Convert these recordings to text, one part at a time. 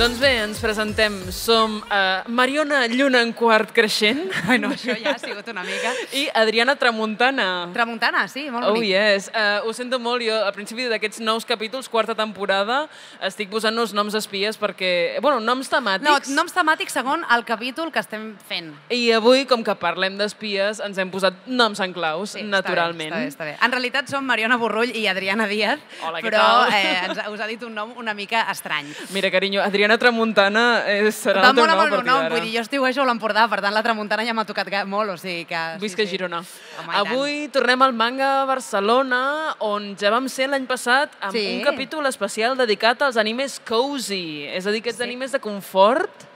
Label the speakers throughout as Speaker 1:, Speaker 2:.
Speaker 1: Doncs bé, ens presentem. Som uh, Mariona Lluna en quart creixent
Speaker 2: Bueno, això ja ha sigut una mica...
Speaker 1: i Adriana Tramuntana.
Speaker 2: Tramuntana, sí, molt
Speaker 1: Oh,
Speaker 2: bonic.
Speaker 1: yes. Uh, ho sento molt, jo al principi d'aquests nous capítols, quarta temporada, estic posant uns noms espies perquè... Bueno, noms
Speaker 2: No,
Speaker 1: temàtics.
Speaker 2: noms temàtics segon el capítol que estem fent.
Speaker 1: I avui, com que parlem d'espies, ens hem posat noms en claus,
Speaker 2: Sí,
Speaker 1: naturalment.
Speaker 2: Està bé, està bé, està bé. En realitat som Mariona Borrull i Adriana Díaz,
Speaker 1: Hola, què
Speaker 2: però
Speaker 1: tal?
Speaker 2: eh, ens, us ha dit un nom una mica estrany.
Speaker 1: Mira, carinyo, Adriana Tramuntana eh, serà
Speaker 2: Va
Speaker 1: el teu
Speaker 2: molt
Speaker 1: nom
Speaker 2: amb
Speaker 1: a
Speaker 2: el meu
Speaker 1: partir
Speaker 2: nom,
Speaker 1: d'ara.
Speaker 2: vull dir, jo estiu a l'Empordà, per tant la tramuntana ja m'ha tocat ga- molt, o sigui que...
Speaker 1: Visca Girona.
Speaker 2: Home, i tant.
Speaker 1: Avui tornem al Manga Barcelona, on ja vam ser l'any passat amb
Speaker 2: Sí.
Speaker 1: un capítol especial dedicat als animes cozy, és a dir, aquests animes de confort,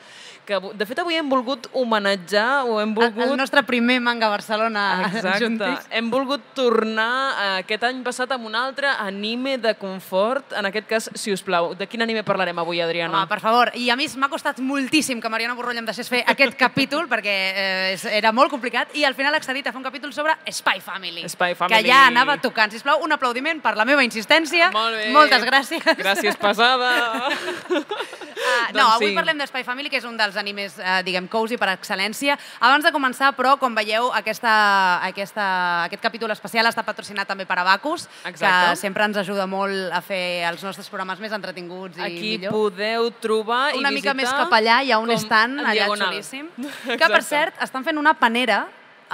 Speaker 1: que avu- de fet avui hem volgut homenatjar o hem
Speaker 2: El,
Speaker 1: volgut... Ah,
Speaker 2: el nostre primer manga a Barcelona
Speaker 1: Exacte.
Speaker 2: juntis.
Speaker 1: Hem volgut tornar eh, aquest any passat amb un altre anime de confort. En aquest cas, si us plau, de quin anime parlarem avui, Adriana?
Speaker 2: Home, Ah, per favor. I a mi m'ha costat moltíssim que Mariana Borrull em deixés fer aquest capítol perquè eh, és- era molt complicat i al final ha accedit a fer un capítol sobre Spy Family.
Speaker 1: Spy
Speaker 2: Que
Speaker 1: Family.
Speaker 2: ja anava tocant. Sisplau, un aplaudiment per la meva insistència.
Speaker 1: Molt bé.
Speaker 2: Moltes gràcies.
Speaker 1: Gràcies, pesada.
Speaker 2: Uh, no,
Speaker 1: Doncs
Speaker 2: avui
Speaker 1: sí.
Speaker 2: parlem d'Espai Family, que és un dels animes, eh, diguem, cozy per excel·lència. Abans de començar, però, com veieu, aquesta, aquesta, aquest capítol especial està patrocinat també per Abacus,
Speaker 1: Exacte.
Speaker 2: que sempre ens ajuda molt a fer els nostres programes més entretinguts i
Speaker 1: Aquí
Speaker 2: millor.
Speaker 1: podeu trobar
Speaker 2: Una
Speaker 1: i
Speaker 2: mica
Speaker 1: visitar...
Speaker 2: més cap allà hi ha un
Speaker 1: com
Speaker 2: stand
Speaker 1: en
Speaker 2: allà
Speaker 1: diagonal.
Speaker 2: xulíssim. Que, per
Speaker 1: Exacte.
Speaker 2: cert, estan fent una panera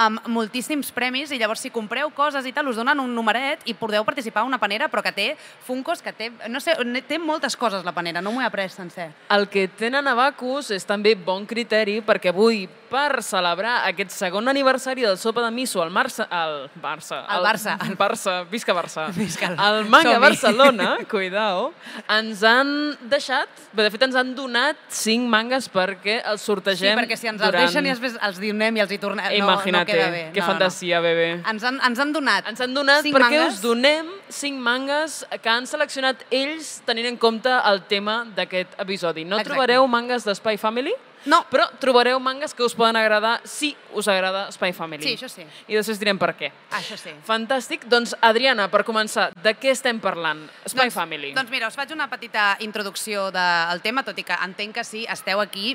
Speaker 2: amb moltíssims premis i llavors si compreu coses i tal us donen un numeret i podeu participar a una panera però que té funcos, que té... No sé, té moltes coses la panera, no m'ho he après sencer.
Speaker 1: El que tenen a Bacus és també bon criteri perquè avui, per celebrar aquest segon aniversari del Sopa de Miso al Marça... Al Barça.
Speaker 2: Al Barça.
Speaker 1: Al Barça. Visca Barça.
Speaker 2: Visca el-
Speaker 1: el Manga
Speaker 2: som-hi.
Speaker 1: Barcelona, cuidao, ens han deixat... Bé, de fet, ens han donat cinc mangas perquè els
Speaker 2: Sí,
Speaker 1: sortegem
Speaker 2: perquè si ens
Speaker 1: durant...
Speaker 2: els deixen i després els donem i els hi tornem, no, no
Speaker 1: Imagina't, eh,
Speaker 2: queda bé.
Speaker 1: que
Speaker 2: no,
Speaker 1: fantasia, bebé.
Speaker 2: No. Ens, han, ens han donat
Speaker 1: Ens han donat
Speaker 2: cinc
Speaker 1: perquè
Speaker 2: mangas.
Speaker 1: us donem cinc mangas que han seleccionat ells tenint en compte el tema d'aquest episodi. No
Speaker 2: Exacte.
Speaker 1: trobareu mangas de Spy Family,
Speaker 2: No.
Speaker 1: però trobareu mangas que us poden agradar si us agrada Spy Family.
Speaker 2: Sí, això sí. Ah,
Speaker 1: I després direm per què.
Speaker 2: Això sí.
Speaker 1: Fantàstic. Doncs, Adriana, per començar, de què estem parlant? Spy Family.
Speaker 2: Doncs mira, us faig una petita introducció del tema, tot i que entenc que si esteu aquí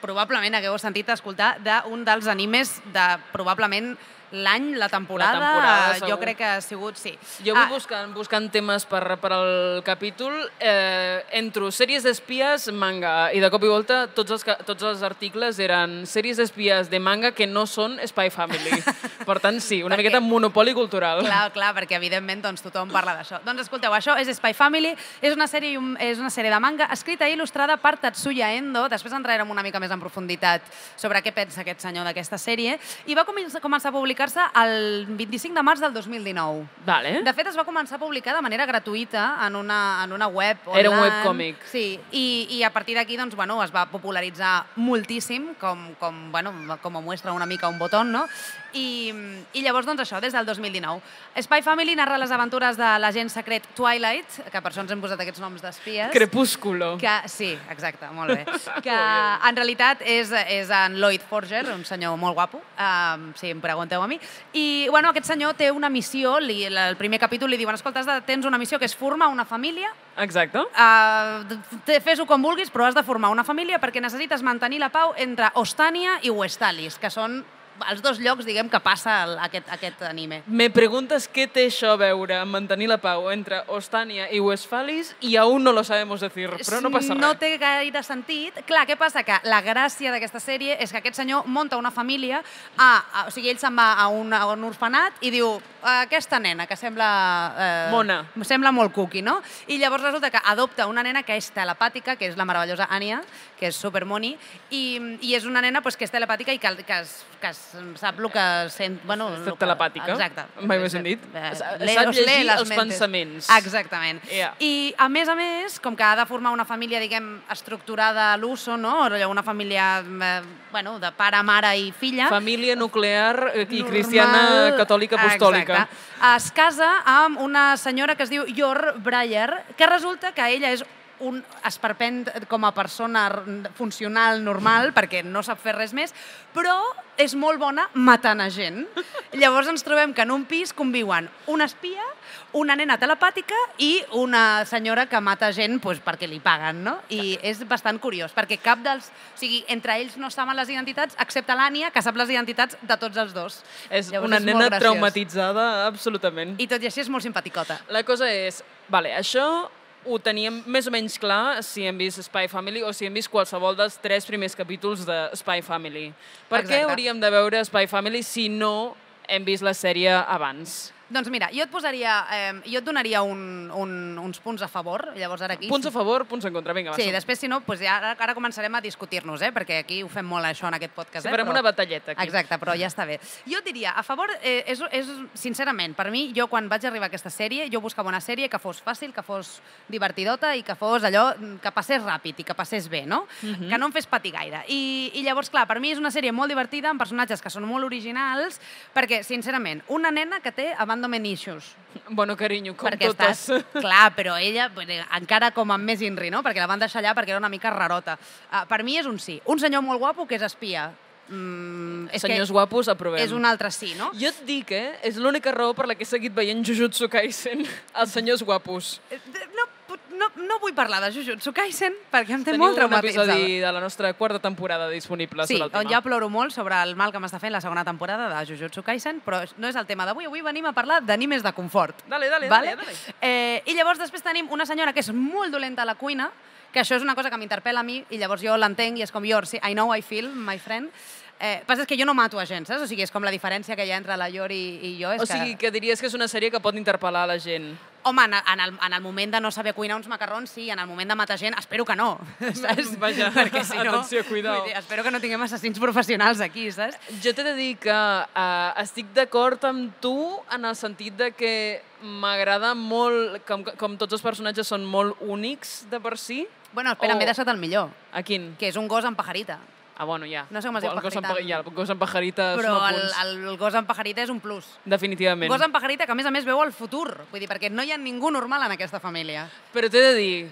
Speaker 2: probablement hagueu sentit a escoltar d'un dels animes de probablement l'any, la temporada.
Speaker 1: La temporada,
Speaker 2: eh,
Speaker 1: segur.
Speaker 2: jo crec que ha sigut, sí. Ah,
Speaker 1: Jo avui buscant, buscant temes per, per al capítol, eh, entro sèries d'espies, manga, i de cop i volta tots els, ca- tots els articles eren sèries d'espies de manga que no són Spy Family. per tant, sí, una
Speaker 2: Perquè-
Speaker 1: miqueta monopoli cultural.
Speaker 2: Clar, clar, perquè evidentment doncs, tothom parla d'això. Doncs escolteu, això és Spy Family, és una sèrie, i un, és una sèrie de manga escrita i il·lustrada per Tatsuya Endo, després entrarem una mica més en profunditat sobre què pensa aquest senyor d'aquesta sèrie, i va començar, començar a publicar-se el 25 de març del 2019.
Speaker 1: Vale.
Speaker 2: De fet, es va començar a publicar de manera gratuïta en una, en una web online.
Speaker 1: Era un webcòmic.
Speaker 2: Sí, i, i a partir d'aquí doncs, bueno, es va popularitzar moltíssim, com, com, bueno, com ho muestra una mica un botó, no? I, I llavors, doncs, això, des del 2019. Spy Family narra les aventures de l'agent secret Twilight, que per això ens hem posat aquests noms d'espies.
Speaker 1: Crepúsculo.
Speaker 2: Que, sí, exacte, molt bé. Que en realitat és, és en Lloyd Forger, un senyor molt guapo, um, si em pregunteu a mi. I bueno, aquest senyor té una missió, li, el primer capítol li diuen, escolta, has de, tens una missió que és formar una família,
Speaker 1: Exacte.
Speaker 2: uh, fes-ho com vulguis, però has de formar una família perquè necessites mantenir la pau entre Ostània i Westalis, que són els dos llocs, diguem, que passa el, aquest, aquest anime.
Speaker 1: Me preguntes qué té això a veure amb mantenir la pau entre Ostania i Westfalis i aún no lo sabemos decir, però no passa res.
Speaker 2: No té gaire sentit. Clar, què passa? Que la gràcia d'aquesta sèrie és que aquest senyor monta una família, a, a, o sigui, ell se'n va a un, a un orfenat i diu aquesta nena, que sembla... Eh,
Speaker 1: Mona.
Speaker 2: Sembla molt cuqui, no? I llavors resulta que adopta una nena que és telepàtica, que és la meravellosa Ània, que és supermoni, i, i és una nena pues, que és telepàtica i que, que, es, que es, sap el que sent... Bueno,
Speaker 1: És
Speaker 2: lo que-
Speaker 1: telepàtica.
Speaker 2: Exacte.
Speaker 1: Mai més ben dit.
Speaker 2: Eh,
Speaker 1: Sap
Speaker 2: le-
Speaker 1: llegir
Speaker 2: os lee les
Speaker 1: els
Speaker 2: mentes.
Speaker 1: pensaments.
Speaker 2: Exactament.
Speaker 1: Yeah.
Speaker 2: I, a més a més, com que ha de formar una família, diguem, estructurada a l'uso, no? Allò, Una família, eh, bueno, de pare, mare i filla.
Speaker 1: Família nuclear eh, i
Speaker 2: normal-
Speaker 1: cristiana catòlica apostòlica.
Speaker 2: Exacte. Es casa amb una senyora que es diu Yor Breyer, que resulta que ella és un esperpent com a persona r- funcional normal, perquè no sap fer res més, però és molt bona matant a gent. Llavors ens trobem que en un pis conviuen un espia, una nena telepàtica i una senyora que mata gent doncs, perquè li paguen, no? I és bastant curiós, perquè cap dels... O sigui, entre ells no saben les identitats, excepte l'Ània, que sap les identitats de tots els dos.
Speaker 1: És
Speaker 2: Llavors
Speaker 1: una
Speaker 2: és molt
Speaker 1: nena
Speaker 2: graciós.
Speaker 1: traumatitzada, absolutament.
Speaker 2: I tot i així és molt simpaticota.
Speaker 1: La cosa és, vale, això ho teníem més o menys clar si hem vist Spy Family o si hem vist qualsevol dels tres primers capítols de Spy Family. Per què
Speaker 2: Exacte.
Speaker 1: hauríem de veure Spy Family si no hem vist la sèrie abans?
Speaker 2: Doncs mira, jo et posaria... Eh, jo et donaria un, un, uns punts a favor, llavors ara aquí...
Speaker 1: Punts a favor, punts en contra. Vinga, va,
Speaker 2: Sí,
Speaker 1: som.
Speaker 2: després, si no, doncs ja ara, ara començarem a discutir-nos, eh? perquè aquí ho fem molt, això, en aquest podcast.
Speaker 1: Sí,
Speaker 2: eh?
Speaker 1: farem
Speaker 2: però-
Speaker 1: una batalleta aquí.
Speaker 2: Exacte, però ja està bé. Jo et diria, a favor, eh, és, és, sincerament, per mi, jo quan vaig arribar a aquesta sèrie, jo buscava una sèrie que fos fàcil, que fos divertidota i que fos allò mm, que passés ràpid i que passés bé, no?
Speaker 1: Mhm.
Speaker 2: Que no em fes patir gaire. I, I llavors, clar, per mi és una sèrie molt divertida, amb personatges que són molt originals, perquè, sincerament, una nena que té abandonment issues,
Speaker 1: Bueno, carinyo, com
Speaker 2: perquè
Speaker 1: totes.
Speaker 2: estàs... Clar, però ella bueno, encara com amb més inri, no? Perquè la van deixar allà perquè era una mica rarota. Uh, per mi és un sí. Un senyor molt guapo que és espia. Mm, és
Speaker 1: Senyors
Speaker 2: que
Speaker 1: guapos, aprovem.
Speaker 2: és un altre sí, no?
Speaker 1: Jo et dic, eh? És l'única raó per la que he seguit veient Jujutsu Kaisen, els senyors guapos.
Speaker 2: Eh, No, pu- no, no vull parlar de Jujutsu Kaisen perquè em té
Speaker 1: Teniu
Speaker 2: molt
Speaker 1: un
Speaker 2: traumatitzada.
Speaker 1: episodi de la nostra quarta temporada disponible
Speaker 2: Sí,
Speaker 1: sobre el tema.
Speaker 2: on ja ploro molt sobre el mal que m'està fent la segona temporada de Jujutsu Kaisen, però no és el tema d'avui. Avui venim a parlar d'animes de confort.
Speaker 1: Dale, dale,
Speaker 2: vale?
Speaker 1: dale, dale.
Speaker 2: Eh, I llavors després tenim una senyora que és molt dolenta a la cuina, que això és una cosa que m'interpel·la a mi i llavors jo l'entenc i és com jo, sí, I know, I feel, my friend. Eh, passa és que jo no mato a gent, saps? O sigui, és com la diferència que hi ha entre la Yor i, i jo. És
Speaker 1: O sigui, que diries que és una sèrie que pot interpel·lar la gent.
Speaker 2: que, home, en, en, el, en el moment de no saber cuinar uns macarrons, sí, en el moment de matar gent, espero que no, saps?
Speaker 1: Vaja,
Speaker 2: Perquè si no...
Speaker 1: atenció, cuidao.
Speaker 2: vull dir, Espero que no tinguem assassins professionals aquí, saps?
Speaker 1: Jo t'he de dir que eh, estic d'acord amb tu en el sentit de que m'agrada molt, com, com tots els personatges són molt únics de per si.
Speaker 2: Bueno, espera,
Speaker 1: O-
Speaker 2: oh. m'he deixat el millor,
Speaker 1: A quin?
Speaker 2: que és un gos amb pajarita.
Speaker 1: Ah, bueno, ja.
Speaker 2: No sé com es diu
Speaker 1: El gos amb
Speaker 2: pajarita.
Speaker 1: pa- Ja, el gos amb pajarita
Speaker 2: Però
Speaker 1: suma
Speaker 2: el,
Speaker 1: punts.
Speaker 2: el gos amb pajarita és un plus.
Speaker 1: Definitivament.
Speaker 2: Gos amb pajarita que, a més a més, veu el futur. Vull dir, perquè no hi ha ningú normal en aquesta família.
Speaker 1: Però t'he de dir,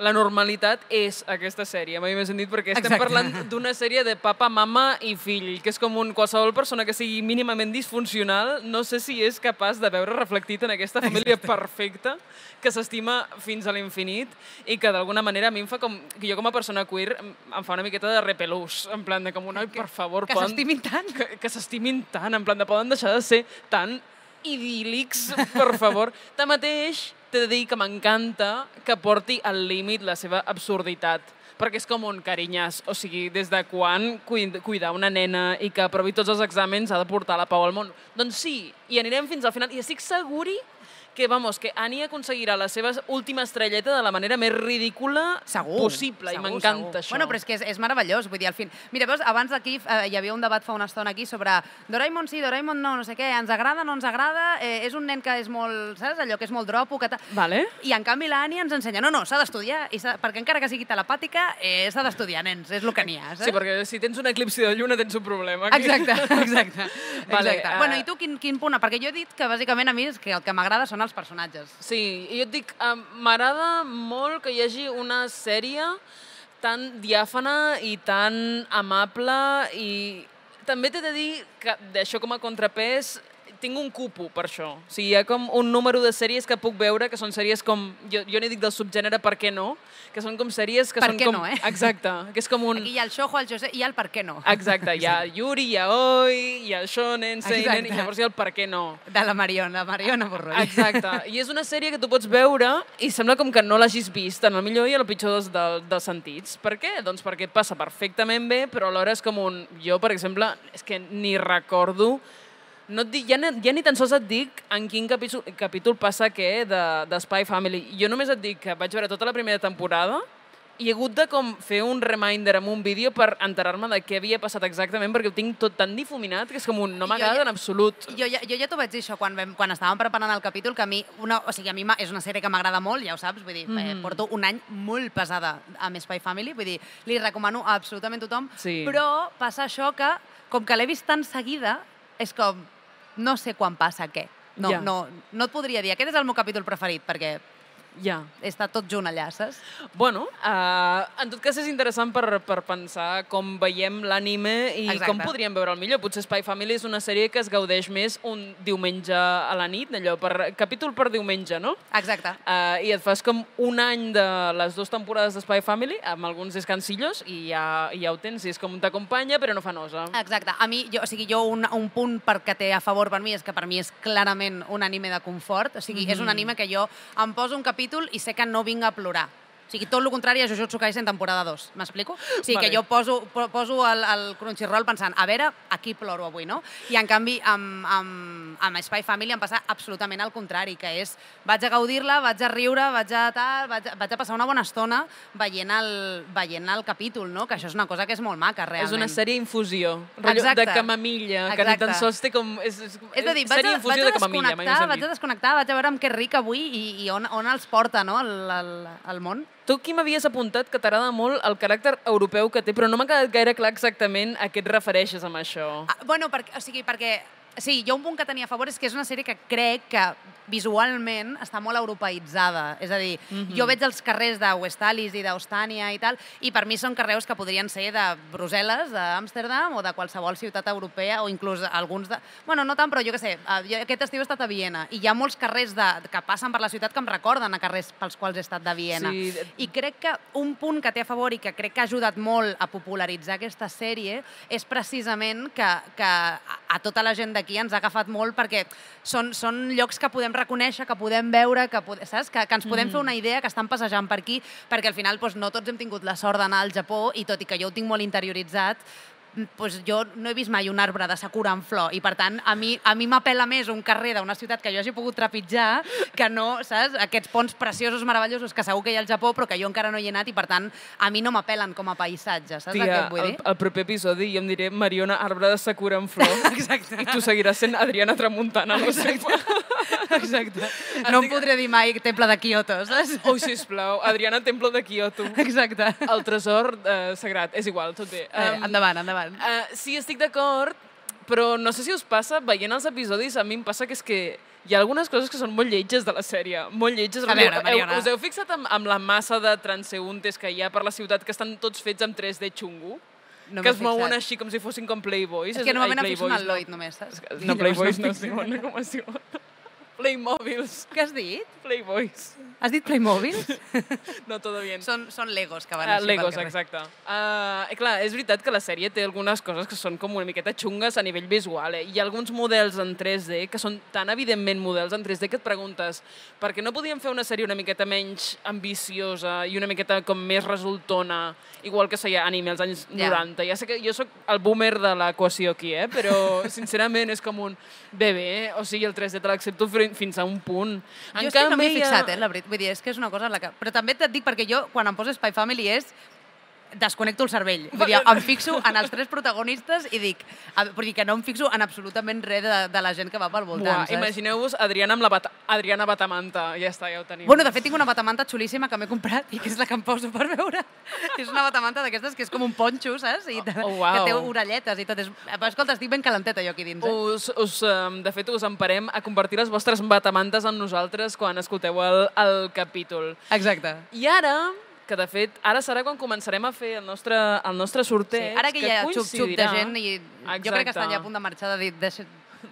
Speaker 1: la normalitat és aquesta sèrie, mai més sentit, perquè estem
Speaker 2: Exacte.
Speaker 1: parlant d'una sèrie de papa, mama i fill, que és com un qualsevol persona que sigui mínimament disfuncional, no sé si és capaç de veure reflectit en aquesta família perfecta que s'estima fins a l'infinit i que d'alguna manera a mi em fa com... que Jo com a persona queer em- em fa una miqueta de repelús, en plan de com un... Ai, per favor,
Speaker 2: que
Speaker 1: poden-
Speaker 2: s'estimin tant."
Speaker 1: Que, que s'estimin tant, en plan de poden deixar de ser tan idíl·lics, per favor. Tanmateix, t'he de dir que m'encanta que porti al límit la seva absurditat perquè és com un carinyàs, o sigui, des de quan cuid- cuidar una nena i que aprovi tots els exàmens ha de portar la pau al món. Doncs sí, i anirem fins al final, i estic seguri que, vamos, que Annie aconseguirà la seva última estrelleta de la manera més ridícula
Speaker 2: Segur.
Speaker 1: possible, i
Speaker 2: Segur, segur.
Speaker 1: m'encanta això.
Speaker 2: Bueno, però és que és, és meravellós, vull dir, al fin... Mira, veus, abans aquí eh, hi havia un debat fa una estona aquí sobre Doraemon sí, Doraemon no, no sé què, ens agrada, no ens agrada, eh, és un nen que és molt, saps, allò que és molt dropo, que tal...
Speaker 1: Vale.
Speaker 2: I en canvi l'Ània ens ensenya, no, no, s'ha d'estudiar, i s'ha- perquè encara que sigui telepàtica, eh, s'ha d'estudiar, nens, és el que n'hi ha, saps?
Speaker 1: Sí, perquè si tens un eclipsi de lluna tens un problema. aquí.
Speaker 2: Eh? Exacte, exacte.
Speaker 1: Vale,
Speaker 2: exacte.
Speaker 1: eh,
Speaker 2: Bueno, i tu quin, quin punt? Perquè jo he dit que bàsicament a mi és que el que m'agrada són els personatges.
Speaker 1: Sí, i jo et dic, eh, m'agrada molt que hi hagi una sèrie tan diàfana i tan amable i també t'he de dir que d'això com a contrapès tinc un cupo per això. O sigui, hi ha com un número de sèries que puc veure que són sèries com... Jo, jo n'hi dic del subgènere Per què no? Que són com sèries que
Speaker 2: Per
Speaker 1: són
Speaker 2: què
Speaker 1: com...
Speaker 2: no, eh?
Speaker 1: Exacte, que és com un...
Speaker 2: Aquí hi ha el Xojo, el Josep i el per què no.
Speaker 1: Exacte, hi ha Yuri, hi ha Oi, hi ha Shonen, Seinen, i
Speaker 2: Exacte.
Speaker 1: llavors hi ha el per què no.
Speaker 2: De la Mariona, Mariona Borroll.
Speaker 1: Exacte, i és una sèrie que tu pots veure i sembla com que no l'hagis vist, en el millor i en el pitjor dels, del, dels sentits. Per què? Doncs perquè et passa perfectament bé, però alhora és com un... Jo, per exemple, és que ni recordo... No et dic, ja, ni- ja ni tan sols et dic en quin capítol, capítol passa què de, de Spy Family. Jo només et dic que vaig veure tota la primera temporada i he hagut de com fer un reminder amb un vídeo per enterar-me de què havia passat exactament perquè ho tinc tot tan difuminat que és com un no
Speaker 2: Jo
Speaker 1: m'agrada
Speaker 2: ja-
Speaker 1: en absolut.
Speaker 2: Jo ja, jo ja t'ho vaig dir això quan, vam, quan estàvem preparant el capítol, que a mi, una, o sigui, a mi m'ha- és una sèrie que m'agrada molt, ja ho saps, vull dir, mm -hmm. eh, porto un any molt pesada amb Spy Family, vull dir, li recomano a absolutament tothom,
Speaker 1: Sí.
Speaker 2: però passa això que, com que l'he vist tan seguida, és com, no sé quan passa què. No,
Speaker 1: Ja.
Speaker 2: no, no et podria dir, aquest és el meu capítol preferit, perquè
Speaker 1: Ja.
Speaker 2: Està tot junt allà, saps?
Speaker 1: Bueno, uh, en tot cas és interessant per, per pensar com veiem l'anime i
Speaker 2: Exacte.
Speaker 1: com podríem veure'l millor. Potser Spy Family és una sèrie que es gaudeix més un diumenge a la nit, allò, per, capítol per diumenge, no?
Speaker 2: Exacte.
Speaker 1: Uh, I et fas com un any de les dues temporades d'Spy Family, amb alguns descansillos, i ja, i ja ho tens, i és com t'acompanya, però no fa nosa.
Speaker 2: Exacte. A mi, jo, o sigui, jo un, un punt per que té a favor per mi és que per mi és clarament un anime de confort. O sigui, mm -hmm.
Speaker 1: Mm-hmm.
Speaker 2: és un anime que jo em poso un capítol i sé que no vinc a plorar. O sigui, tot el contrari a Jujutsu Kaisen temporada 2, m'explico? O sigui,
Speaker 1: Vale.
Speaker 2: que jo poso, po- poso el, el Crunchyroll pensant, a veure, aquí ploro avui, no? I en canvi, amb, amb, amb Spy Family em passa absolutament el contrari, que és, vaig a gaudir-la, vaig a riure, vaig a tal, vaig a, vaig a passar una bona estona veient el, veient el capítol, no? Que això és una cosa que és molt maca,
Speaker 1: És
Speaker 2: realment.
Speaker 1: una sèrie infusió, rotllo
Speaker 2: Exacte.
Speaker 1: de camamilla, que ni
Speaker 2: Exacte.
Speaker 1: tan sols té com... És, és,
Speaker 2: És a dir, vaig
Speaker 1: sèrie
Speaker 2: a, vaig
Speaker 1: infusió
Speaker 2: a
Speaker 1: de camamilla, mai
Speaker 2: desconnectar,
Speaker 1: més
Speaker 2: vaig a
Speaker 1: dit.
Speaker 2: desconnectar, vaig a veure amb què ric avui i, i on, on els porta, no?, el, el, el món.
Speaker 1: Tu aquí m'havies apuntat que t'agrada molt el caràcter europeu que té, però no m'ha quedat gaire clar exactament a què et refereixes amb això.
Speaker 2: Ah, bueno, perquè, o sigui, perquè... Sí, jo un punt que tenia a favor és que és una sèrie que crec que visualment està molt europeïtzada. És a dir, mm -hmm. jo veig els carrers de Westalis i d'Austània i tal, i per mi són carreus que podrien ser de Brussel·les, d'Amsterdam o de qualsevol ciutat europea o inclús alguns de... Bueno, no tant, però jo què sé, eh, jo aquest estiu he estat a Viena i hi ha molts carrers de, que passen per la ciutat que em recorden a carrers pels quals he estat de Viena.
Speaker 1: Sí,
Speaker 2: I crec que un punt que té a favor i que crec que ha ajudat molt a popularitzar aquesta sèrie és precisament que, que a a tota la gent d'aquí ens ha agafat molt perquè són, són llocs que podem reconèixer, que podem veure, que, pode, saps? que, que ens podem mm. fer una idea, que estan passejant per aquí, perquè al final doncs, no tots hem tingut la sort d'anar al Japó i tot i que jo ho tinc molt interioritzat, m, doncs jo no he vist mai un arbre de sakura en flor i per tant a mi a mi m'apela més un carrer d'una ciutat que jo hagi pogut trepitjar que no, saps? Aquests ponts preciosos, meravellosos que segur que hi ha al Japó però que jo encara no hi he anat i per tant a mi no m'apelen com a paisatge, saps el que
Speaker 1: Tia,
Speaker 2: et vull
Speaker 1: el,
Speaker 2: dir?
Speaker 1: el proper episodi jo em diré Mariona, arbre de sakura en flor.
Speaker 2: Exacte.
Speaker 1: I tu seguiràs sent Adriana Tramuntana. No sé.
Speaker 2: Exacte. No em podré dir mai temple de Kyoto, saps?
Speaker 1: Oh, sisplau, Adriana Templo de Kyoto.
Speaker 2: Exacte.
Speaker 1: El tresor eh, sagrat, és igual, tot bé.
Speaker 2: Eh,
Speaker 1: Em,
Speaker 2: endavant, endavant.
Speaker 1: Eh, sí, estic d'acord, però no sé si us passa, veient els episodis, a mi em passa que és que hi ha algunes coses que són molt lletges de la sèrie, molt lletges.
Speaker 2: A veure,
Speaker 1: Heu-
Speaker 2: Mariona.
Speaker 1: eh, us heu fixat amb, amb la massa de transeuntes que hi ha per la ciutat que estan tots fets amb 3D xungo?
Speaker 2: No
Speaker 1: que
Speaker 2: m'he
Speaker 1: es mouen
Speaker 2: fixat.
Speaker 1: així com si fossin com Playboys.
Speaker 2: És que normalment em fixo en
Speaker 1: Playboys,
Speaker 2: el Lloyd només, saps?
Speaker 1: No, no Playboys no, es diuen, no, com es diuen. Playmobils.
Speaker 2: Què has dit?
Speaker 1: Playboys.
Speaker 2: Has dit Playmobil?
Speaker 1: No, todo bien.
Speaker 2: Són, són Legos que van
Speaker 1: Ah,
Speaker 2: així pel
Speaker 1: Legos,
Speaker 2: carrer.
Speaker 1: exacte. Uh, clar, és veritat que la sèrie té algunes coses que són com una miqueta xungues a nivell visual. Eh? Hi ha alguns models en 3D que són tan evidentment models en 3D que et preguntes per què no podíem fer una sèrie una miqueta menys ambiciosa i una miqueta com més resultona, igual que feia anime als anys
Speaker 2: Ja.
Speaker 1: 90. Ja sé que jo sóc el boomer de l'equació aquí, eh? però sincerament és com un... Bé, bé, eh? o sigui, el 3D te l'accepto fri- fins a un punt.
Speaker 2: Jo és que no m'hi he
Speaker 1: hi ha-
Speaker 2: fixat, eh, la veritat. Vull dir, és que és una cosa en la que... Però també et dic, perquè jo, quan em poso Spy Family, és desconnecto el cervell. Vull dir, em fixo en els tres protagonistes i dic... a- Vull dir que no em fixo en absolutament res de, de la gent que va pel voltant,
Speaker 1: Buah,
Speaker 2: saps?
Speaker 1: imagineu-vos Adriana amb la bata Adriana Batamanta. Ja està, ja ho tenim.
Speaker 2: Bueno, de fet, tinc una batamanta xulíssima que m'he comprat i que és la que em poso per veure. és una batamanta d'aquestes que és com un ponxo, saps? I te-
Speaker 1: Oh, uau. Uh.
Speaker 2: Que té orelletes i tot. És... eh, Escolta, estic ben calenteta jo aquí dins. Eh?
Speaker 1: us, us, em, de fet, us emparem a compartir les vostres batamantes amb nosaltres quan escolteu el, el capítol.
Speaker 2: Exacte.
Speaker 1: I ara, que de fet, ara serà quan començarem a fer el nostre, el nostre
Speaker 2: Sí,
Speaker 1: sorteig.
Speaker 2: ara que, hi ha xup-xup de
Speaker 1: coincidirà-
Speaker 2: gent i jo crec que estan ja a punt de marxar de dir deixa...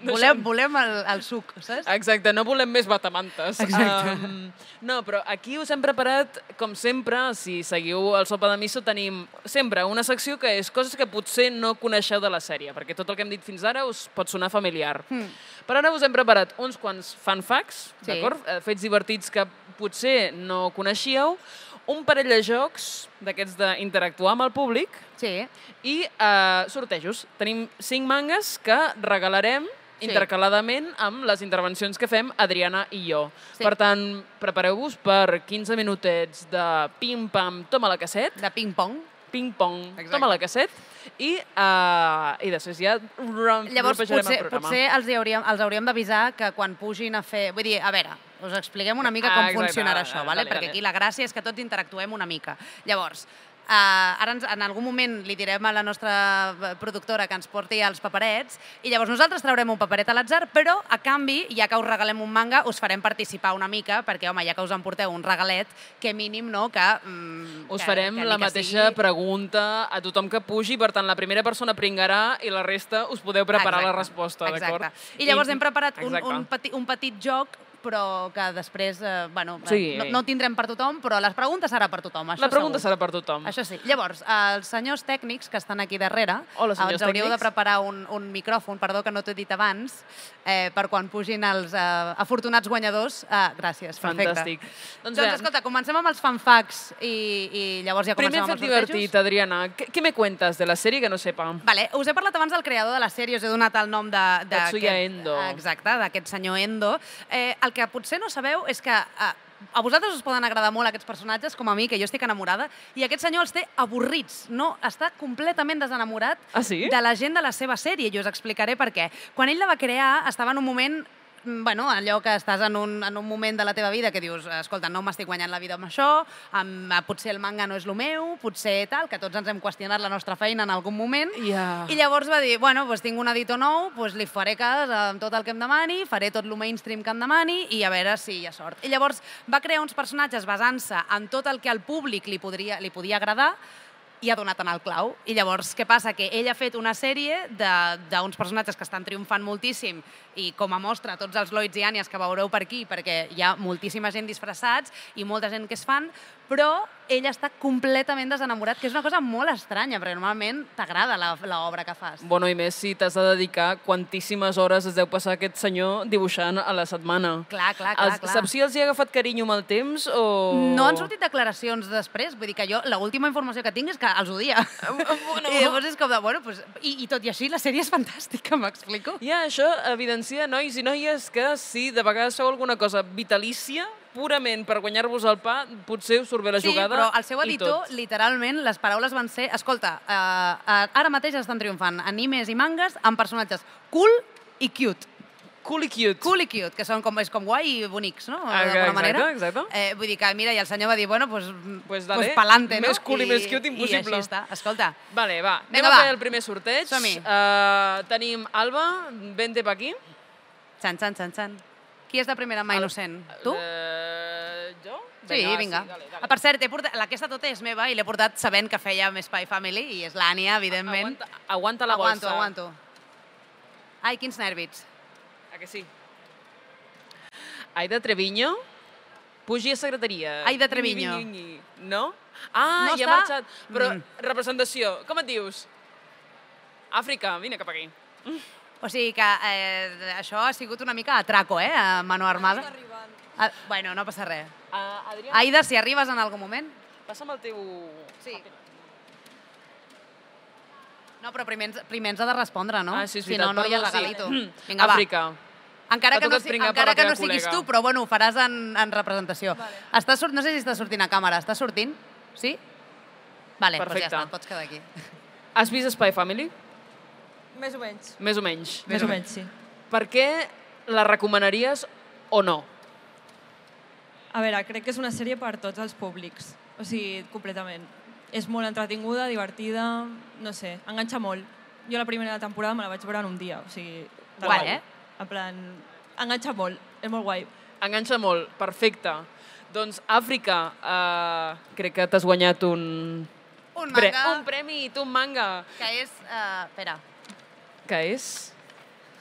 Speaker 2: volem, volem el, el suc, saps?
Speaker 1: Exacte, no volem més batamantes.
Speaker 2: Exacte.
Speaker 1: Um, no, però aquí us hem preparat, com sempre, si seguiu el Sopa de Miso, tenim sempre una secció que és coses que potser no coneixeu de la sèrie, perquè tot el que hem dit fins ara us pot sonar familiar. Mm. Per ara us hem preparat uns quants fun facts,
Speaker 2: Hmm. Sí.
Speaker 1: d'acord? Eh, Fets divertits que potser no coneixíeu, un parell de jocs d'aquests d'interactuar amb el públic
Speaker 2: Sí.
Speaker 1: i eh, sortejos. Tenim cinc mangas que regalarem
Speaker 2: Sí.
Speaker 1: intercaladament amb les intervencions que fem Adriana i jo.
Speaker 2: Sí.
Speaker 1: Per tant, prepareu-vos per 15 minutets de pim-pam, toma la casset,
Speaker 2: De ping-pong.
Speaker 1: ping-pong,
Speaker 2: Exacte.
Speaker 1: toma la casset, i, eh, i després ja rom-
Speaker 2: Llavors,
Speaker 1: rompejarem
Speaker 2: potser,
Speaker 1: el programa.
Speaker 2: potser els, hi hauríem, els hauríem d'avisar que quan pugin a fer... Vull dir, a veure, us expliquem una mica
Speaker 1: Ah,
Speaker 2: com
Speaker 1: exacte,
Speaker 2: funcionarà
Speaker 1: ah,
Speaker 2: això,
Speaker 1: ah,
Speaker 2: vale?
Speaker 1: vale,
Speaker 2: perquè
Speaker 1: vale.
Speaker 2: aquí la gràcia és que tots interactuem una mica. Llavors, Uh, ara ens, en algun moment li direm a la nostra eh, productora que ens porti els paperets i llavors nosaltres traurem un paperet a l'atzar, però a canvi, ja que us regalem un manga, us farem participar una mica, perquè home, ja que us emporteu un regalet, que mínim no, que... Mm,
Speaker 1: Us
Speaker 2: que,
Speaker 1: farem
Speaker 2: que ni
Speaker 1: la
Speaker 2: que
Speaker 1: mateixa
Speaker 2: sigui-
Speaker 1: pregunta a tothom que pugi, per tant, la primera persona pringarà i la resta us podeu preparar la resposta,
Speaker 2: exacte.
Speaker 1: d'acord?
Speaker 2: I llavors hem preparat un,
Speaker 1: Exacte.
Speaker 2: un, petit, un petit joc però que després, eh, bueno,
Speaker 1: Sí.
Speaker 2: no, no ho tindrem per tothom, però les preguntes serà per tothom, això
Speaker 1: La pregunta
Speaker 2: segur.
Speaker 1: serà per tothom.
Speaker 2: Això sí. Llavors, els senyors tècnics que estan aquí darrere,
Speaker 1: Hola,
Speaker 2: ens
Speaker 1: senyors
Speaker 2: hauríeu de
Speaker 1: tècnics.
Speaker 2: preparar un, un micròfon, perdó que no t'ho he dit abans, eh, per quan pugin els eh, afortunats guanyadors. Eh, gràcies, perfecte.
Speaker 1: Fantàstic.
Speaker 2: Doncs, doncs escolta, comencem amb els fanfacts i, i llavors ja
Speaker 1: primer
Speaker 2: comencem amb
Speaker 1: fet
Speaker 2: els sortejos.
Speaker 1: divertit, Adriana. ¿Qué, qué me cuentas de la serie que no sepa?
Speaker 2: Vale, us he parlat abans del creador de la sèrie, us he donat el nom de... de
Speaker 1: Tatsuya
Speaker 2: aquest-
Speaker 1: Endo.
Speaker 2: Exacte, d'aquest senyor Endo. Eh, el que potser no sabeu és que eh, a vosaltres us poden agradar molt aquests personatges, com a mi, que jo estic enamorada, i aquest senyor els té avorrits, no? Està completament desenamorat
Speaker 1: Ah, sí?
Speaker 2: de la gent de la seva sèrie, i us explicaré per què. Quan ell la va crear, estava en un moment mm, bueno, allò que estàs en un, en un moment de la teva vida que dius, escolta, no m'estic guanyant la vida amb això, amb, potser el manga no és el meu, potser tal, que tots ens hem qüestionat la nostra feina en algun moment,
Speaker 1: Ja.
Speaker 2: i llavors va dir, bueno, doncs tinc un editor nou, doncs li faré cas amb tot el que em demani, faré tot el mainstream que em demani i a veure si hi ha sort. I llavors va crear uns personatges basant-se en tot el que al públic li, podria, li podia agradar i ha donat en el clau. I llavors, què passa? Que ell ha fet una sèrie de- d'uns personatges que estan triomfant moltíssim i com a mostra tots els Lloyds i Ànies que veureu per aquí, perquè hi ha moltíssima gent disfressats i molta gent que es fan, però ell està completament desenamorat, que és una cosa molt estranya, perquè normalment t'agrada la- l'obra que fas.
Speaker 1: Bueno, i més si t'has de dedicar quantíssimes hores es deu passar aquest senyor dibuixant a la setmana.
Speaker 2: Clar, clar, clar,
Speaker 1: Els-
Speaker 2: clar.
Speaker 1: Saps si els hi ha agafat carinyo amb el temps o...
Speaker 2: No han sortit declaracions després, vull dir que jo l'última informació que tinc és que els odia.
Speaker 1: bueno.
Speaker 2: I llavors és com de, bueno, pues, i, i tot i així la sèrie és fantàstica, m'explico.
Speaker 1: Ja, això evidencia, nois i noies, que si de vegades feu alguna cosa vitalícia, purament per guanyar-vos el pa, potser us surt bé la
Speaker 2: Sí,
Speaker 1: jugada
Speaker 2: però el seu
Speaker 1: i
Speaker 2: editor,
Speaker 1: tot.
Speaker 2: literalment, les paraules van ser escolta, eh, eh, ara mateix estan triomfant animes i mangas amb personatges cool i cute.
Speaker 1: Cool i cute.
Speaker 2: Cool i cute, que són com, és com guai i bonics, no?
Speaker 1: Ah,
Speaker 2: D'alguna
Speaker 1: exacte,
Speaker 2: manera.
Speaker 1: exacte.
Speaker 2: Eh, vull dir que, mira, i el senyor va dir, bueno, pues,
Speaker 1: Pues
Speaker 2: pues,
Speaker 1: dale,
Speaker 2: pues pa'lante, no?
Speaker 1: més cool i més cute,
Speaker 2: I
Speaker 1: impossible.
Speaker 2: així està, escolta.
Speaker 1: Vale, va.
Speaker 2: Vinga,
Speaker 1: Anem a
Speaker 2: va.
Speaker 1: fer el primer sorteig.
Speaker 2: Som-hi.
Speaker 1: Uh, tenim Alba, vente pa aquí.
Speaker 2: Xan, xan, xan, xan. Qui és de primera mà innocent? Tu?
Speaker 1: Eh, jo?
Speaker 2: Sí, vinga.
Speaker 1: Sí, dale,
Speaker 2: Ah,
Speaker 1: dale.
Speaker 2: Per cert, he portat, aquesta tota és meva i l'he portat sabent que feia més Spy Family i és l'Ània, evidentment.
Speaker 1: Ah, Aguanta, aguanta la
Speaker 2: aguanto,
Speaker 1: bolsa.
Speaker 2: aguanto. Ai, quins nervis.
Speaker 1: A que sí? Aida Treviño, pugi a secretaria.
Speaker 2: Aida Treviño.
Speaker 1: Vingui, vingui, vingui. No? Ah,
Speaker 2: No
Speaker 1: ja
Speaker 2: està?
Speaker 1: ha marxat. Però
Speaker 2: Mm.
Speaker 1: representació, com et dius? Àfrica, vine cap aquí.
Speaker 2: O sigui que eh, això ha sigut una mica atraco, eh, a mano armada. Ah, bueno, no passa res.
Speaker 1: Uh, Adrià,
Speaker 2: Aida, si arribes en algun moment...
Speaker 1: passa'm el teu...
Speaker 2: Sí. No, però primer ens, primer ens ha de respondre, no?
Speaker 1: Ah, sí, és
Speaker 2: si
Speaker 1: veritat.
Speaker 2: no, no hi ha
Speaker 1: perdó, sí.
Speaker 2: regalito.
Speaker 1: Vinga, va. Àfrica.
Speaker 2: Encara
Speaker 1: T'ha
Speaker 2: que no,
Speaker 1: tocat
Speaker 2: si,
Speaker 1: pringar per la
Speaker 2: encara que
Speaker 1: teva
Speaker 2: no siguis
Speaker 1: col·lega.
Speaker 2: tu, però bueno, ho faràs en, en representació. Vale. Està sort, no sé si està sortint a càmera. Està sortint? Sí? Vale, doncs
Speaker 1: Perfecte.
Speaker 2: ja està, et pots quedar aquí.
Speaker 1: Has vist Spy Family?
Speaker 3: Més o menys.
Speaker 1: Més o menys.
Speaker 3: Més o menys, sí.
Speaker 1: Per què la recomanaries o no?
Speaker 3: A veure, crec que és una sèrie per tots els públics. O sigui, completament. És molt entretinguda, divertida, no sé, enganxa molt. Jo la primera temporada me la vaig veure en un dia, o sigui... tal
Speaker 2: Guai,
Speaker 3: qual.
Speaker 2: eh?
Speaker 3: En plan, enganxa molt, és molt guai.
Speaker 1: Enganxa molt, perfecte. Doncs Àfrica, eh, crec que t'has guanyat un...
Speaker 2: Un
Speaker 1: pre-
Speaker 2: manga
Speaker 1: un premi, tu un manga,
Speaker 2: que és... Uh, espera.
Speaker 1: que és...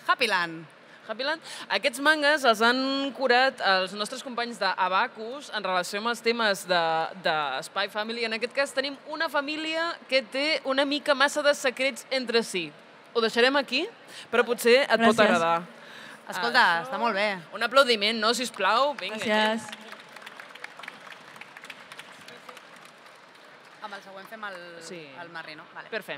Speaker 2: Happyland.
Speaker 1: Happyland. Aquests mangas els han curat els nostres companys d'Abacus en relació amb els temes de, de Spy Family. En aquest cas tenim una família que té una mica massa de secrets entre si. Ho deixarem aquí, però potser et pot
Speaker 3: Gràcies.
Speaker 1: agradar.
Speaker 2: Escolta,
Speaker 1: Això-
Speaker 2: està molt bé.
Speaker 1: Un aplaudiment, no, sisplau. Vinga,
Speaker 3: Gràcies.
Speaker 2: Amb el següent fem el,
Speaker 1: Sí.
Speaker 2: el Marri, no? Vale.
Speaker 1: Per fer.